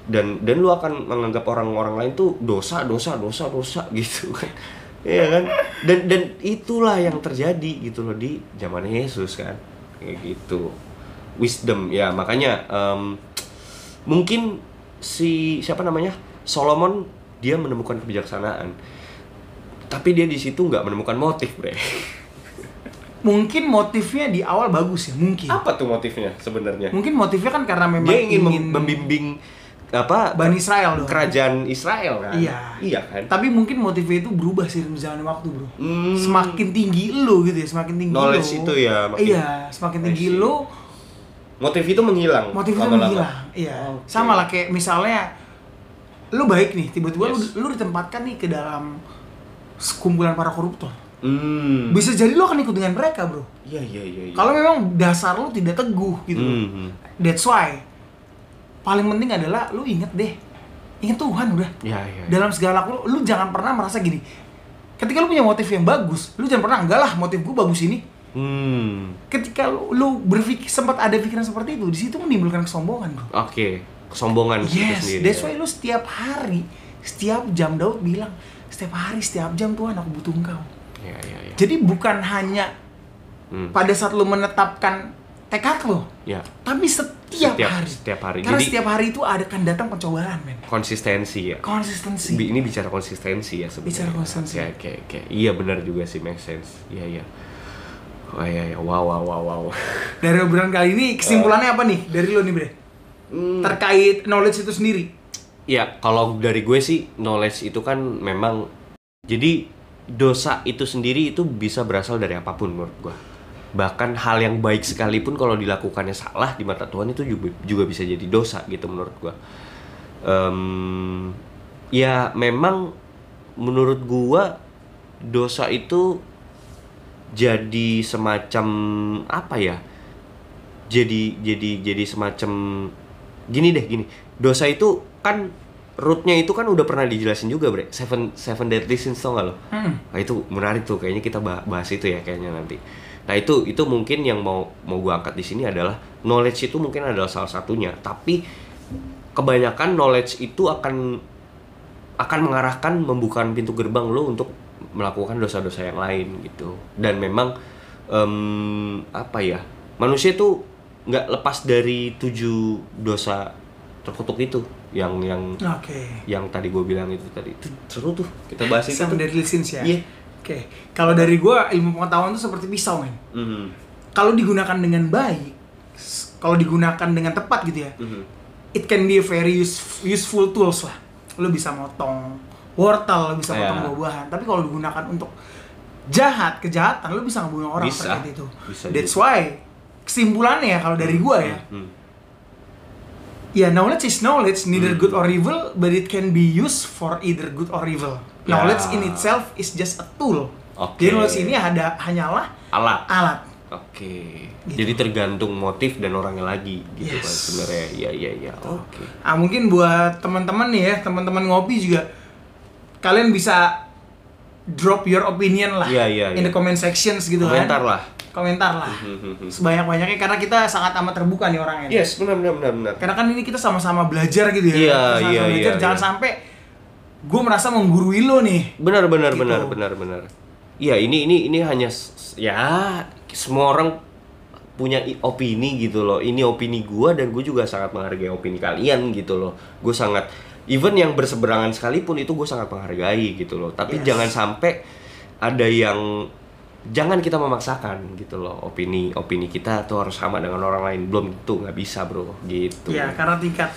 Speaker 3: dan dan lu akan menganggap orang-orang lain tuh dosa dosa dosa dosa gitu kan Iya kan dan dan itulah yang terjadi gitu loh di zaman Yesus kan kayak gitu wisdom ya makanya em, mungkin si siapa namanya Solomon dia menemukan kebijaksanaan tapi dia di situ nggak menemukan motif bre
Speaker 2: Mungkin motifnya di awal bagus ya, mungkin.
Speaker 3: apa tuh motifnya sebenarnya
Speaker 2: Mungkin motifnya kan karena memang
Speaker 3: dia ingin, mem- membimbing apa
Speaker 2: Bani Israel dong.
Speaker 3: kerajaan Israel kan
Speaker 2: Iya.
Speaker 3: iya kan
Speaker 2: Tapi mungkin motifnya itu berubah sih berjalan waktu, Bro.
Speaker 3: Hmm.
Speaker 2: Semakin tinggi lu gitu ya, semakin tinggi
Speaker 3: Knowledge
Speaker 2: lu.
Speaker 3: itu ya, makin-
Speaker 2: Iya, semakin
Speaker 3: I
Speaker 2: tinggi
Speaker 3: see.
Speaker 2: lu
Speaker 3: motif itu menghilang
Speaker 2: motif itu
Speaker 3: lama-lama.
Speaker 2: menghilang. Iya.
Speaker 3: Oke.
Speaker 2: Sama lah kayak misalnya lu baik nih, tiba-tiba
Speaker 3: Yes.
Speaker 2: lu, lu ditempatkan nih ke dalam kumpulan para koruptor.
Speaker 3: hmm
Speaker 2: Bisa jadi lu akan ikut dengan mereka, Bro.
Speaker 3: iya iya iya iya.
Speaker 2: Kalau memang dasar lu tidak teguh gitu.
Speaker 3: Hmm, hmm.
Speaker 2: That's why paling penting adalah lu inget deh. Inget Tuhan udah.
Speaker 3: iya iya iya.
Speaker 2: Dalam segala laku lu, lu jangan pernah merasa gini. Ketika lu punya motif yang bagus, lu jangan pernah enggak lah motif gua bagus ini.
Speaker 3: hmm
Speaker 2: Ketika lu, lu berpikir sempat ada pikiran seperti itu, di situ menimbulkan kesombongan, Bro.
Speaker 3: oke kesombongan itu
Speaker 2: Yes,
Speaker 3: sendiri
Speaker 2: that's
Speaker 3: ya.
Speaker 2: why lu setiap hari, setiap jam Daud bilang, setiap hari, setiap jam Tuhan aku butuh engkau.
Speaker 3: iya iya iya
Speaker 2: Jadi bukan hanya
Speaker 3: Hmm.
Speaker 2: pada saat lu menetapkan tekad lo,
Speaker 3: ya
Speaker 2: tapi setiap,
Speaker 3: Setiap-
Speaker 2: hari
Speaker 3: setiap hari.
Speaker 2: karena
Speaker 3: Jadi-
Speaker 2: setiap hari itu ada kan datang pencobaan men
Speaker 3: konsistensi ya
Speaker 2: konsistensi
Speaker 3: Bi- ini bicara konsistensi ya sebenarnya.
Speaker 2: Bicara konsistensi.
Speaker 3: Ya, kayak, kayak, iya benar juga sih make sense. Iya iya. Wah iya iya. Wow wow wow wow.
Speaker 2: dari obrolan kali ini kesimpulannya apa nih dari lo nih bre
Speaker 3: Hmm.
Speaker 2: terkait knowledge itu sendiri
Speaker 3: Ya, kalau dari gue sih knowledge itu kan memang jadi dosa itu sendiri itu bisa berasal dari apapun menurut gue. Bahkan hal yang baik sekalipun kalau dilakukannya salah di mata Tuhan itu juga, juga bisa jadi dosa gitu menurut gue. Em, ya memang menurut gue dosa itu jadi semacam apa ya? jadi jadi jadi semacam gini deh gini dosa itu kan rootnya itu kan udah pernah dijelasin juga bre seven seven deadly sins tau gak lo
Speaker 2: Hmm.
Speaker 3: Nah, itu menarik tuh kayaknya kita bah- bahas itu ya kayaknya nanti nah itu itu mungkin yang mau mau gua angkat di sini adalah knowledge itu mungkin adalah salah satunya tapi kebanyakan knowledge itu akan akan mengarahkan membukakan pintu gerbang lo untuk melakukan dosa-dosa yang lain gitu dan memang em, apa ya manusia itu nggak lepas dari tujuh dosa terkutuk itu yang yang
Speaker 2: oke
Speaker 3: yang tadi gue bilang itu tadi itu seru tuh kita bahas itu
Speaker 2: sama
Speaker 3: tuh.
Speaker 2: dari listens ya
Speaker 3: Iya.
Speaker 2: oke kalau dari gua ilmu pengetahuan itu seperti pisau men
Speaker 3: Mhm.
Speaker 2: kalau digunakan dengan baik s- kalau digunakan dengan tepat gitu ya
Speaker 3: Mhm.
Speaker 2: it can be a very use- useful tools lah. Lo bisa motong wortel, lo bisa
Speaker 3: Ya.
Speaker 2: motong buah-buahan. Tapi kalau digunakan untuk jahat, kejahatan, lo bisa ngebunuh orang
Speaker 3: Bisa.
Speaker 2: seperti itu.
Speaker 3: Bisa
Speaker 2: That's
Speaker 3: juga.
Speaker 2: why kesimpulannya ya kalau dari gua ya,
Speaker 3: Mhm.
Speaker 2: ya knowledge is knowledge, neither
Speaker 3: iya. Hmm.
Speaker 2: good or evil, but it can be used for either good or evil.
Speaker 3: Ya.
Speaker 2: Knowledge in itself is just a tool.
Speaker 3: Oke.
Speaker 2: Jadi knowledge ini ada hanyalah
Speaker 3: alat
Speaker 2: alat.
Speaker 3: oke
Speaker 2: Gitu.
Speaker 3: jadi tergantung motif dan orangnya lagi gitu
Speaker 2: Yes.
Speaker 3: kan sebenarnya ya ya ya oke
Speaker 2: Ah mungkin buat teman-teman nih ya, teman-teman ngopi juga kalian bisa drop your opinion lah
Speaker 3: Iya, iya,
Speaker 2: in
Speaker 3: iya.
Speaker 2: the comment sections gitu
Speaker 3: komentar
Speaker 2: kan.
Speaker 3: lah
Speaker 2: Komentar lah.
Speaker 3: Mhm.
Speaker 2: Sebanyak-banyaknya karena kita sangat amat terbuka nih orangnya.
Speaker 3: yes benar benar benar benar
Speaker 2: Karena kan ini kita sama-sama belajar gitu ya.
Speaker 3: Iya,
Speaker 2: Sama-sama
Speaker 3: iya,
Speaker 2: belajar.
Speaker 3: iya,
Speaker 2: Jangan
Speaker 3: iya.
Speaker 2: sampai gue merasa menggurui lo nih.
Speaker 3: benar benar benar
Speaker 2: Gitu.
Speaker 3: benar benar ya ini ini ini hanya s- s- ya semua orang punya i- opini gitu loh ini opini gua dan gue juga sangat menghargai opini kalian gitu loh gue sangat even yang berseberangan sekalipun itu gue sangat menghargai gitu loh tapi
Speaker 2: Yes.
Speaker 3: jangan sampai ada yang jangan kita memaksakan gitu loh opini opini kita tuh harus sama dengan orang lain belum tentu nggak bisa bro gitu
Speaker 2: Iya, karena tingkat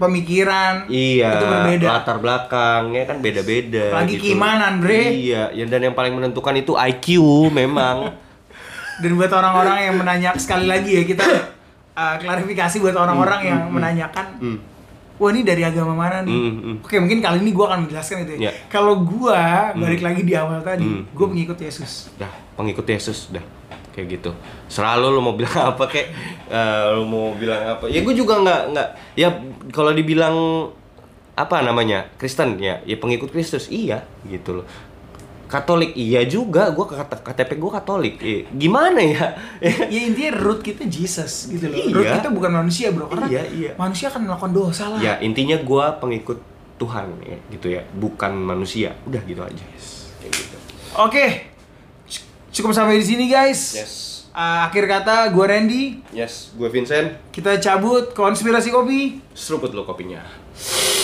Speaker 2: pemikiran
Speaker 3: Iya,
Speaker 2: itu berbeda.
Speaker 3: latar belakangnya kan beda-beda.
Speaker 2: Apalagi keimanan, Bre.
Speaker 3: Iya, ya, dan yang paling menentukan itu IQ memang.
Speaker 2: Dan buat orang-orang yang menanyakan sekali lagi ya kita uh, klarifikasi buat orang-orang yang menanyakan, wah ini dari agama mana nih?
Speaker 3: Hmm, hmm.
Speaker 2: Oke mungkin kali ini gue akan menjelaskan itu. Ya.
Speaker 3: Ya.
Speaker 2: Kalau gue balik lagi di awal tadi,
Speaker 3: Hmm,
Speaker 2: gue mengikut Yesus.
Speaker 3: dah pengikut Yesus dah kayak gitu selalu lu mau bilang apa kayak eh, lu mau bilang apa ya gue juga nggak nggak ya kalau dibilang apa namanya Kristen ya ya pengikut Kristus iya gitu loh Katolik iya juga gue KTP gue Katolik Eh, gimana ya
Speaker 2: Ya intinya root kita Jesus gitu loh.
Speaker 3: Iya.
Speaker 2: Root kita bukan manusia bro, karena
Speaker 3: Iya, iya.
Speaker 2: manusia akan melakukan dosa lah.
Speaker 3: ya intinya gue pengikut Tuhan ya, gitu ya bukan manusia udah gitu aja kayak gitu
Speaker 2: Oke, c- cukup sampai di sini guys.
Speaker 3: Yes.
Speaker 2: Uh, akhir kata gue Randy,
Speaker 3: yes gue Vincent
Speaker 2: kita cabut konspirasi kopi.
Speaker 3: seruput lo kopinya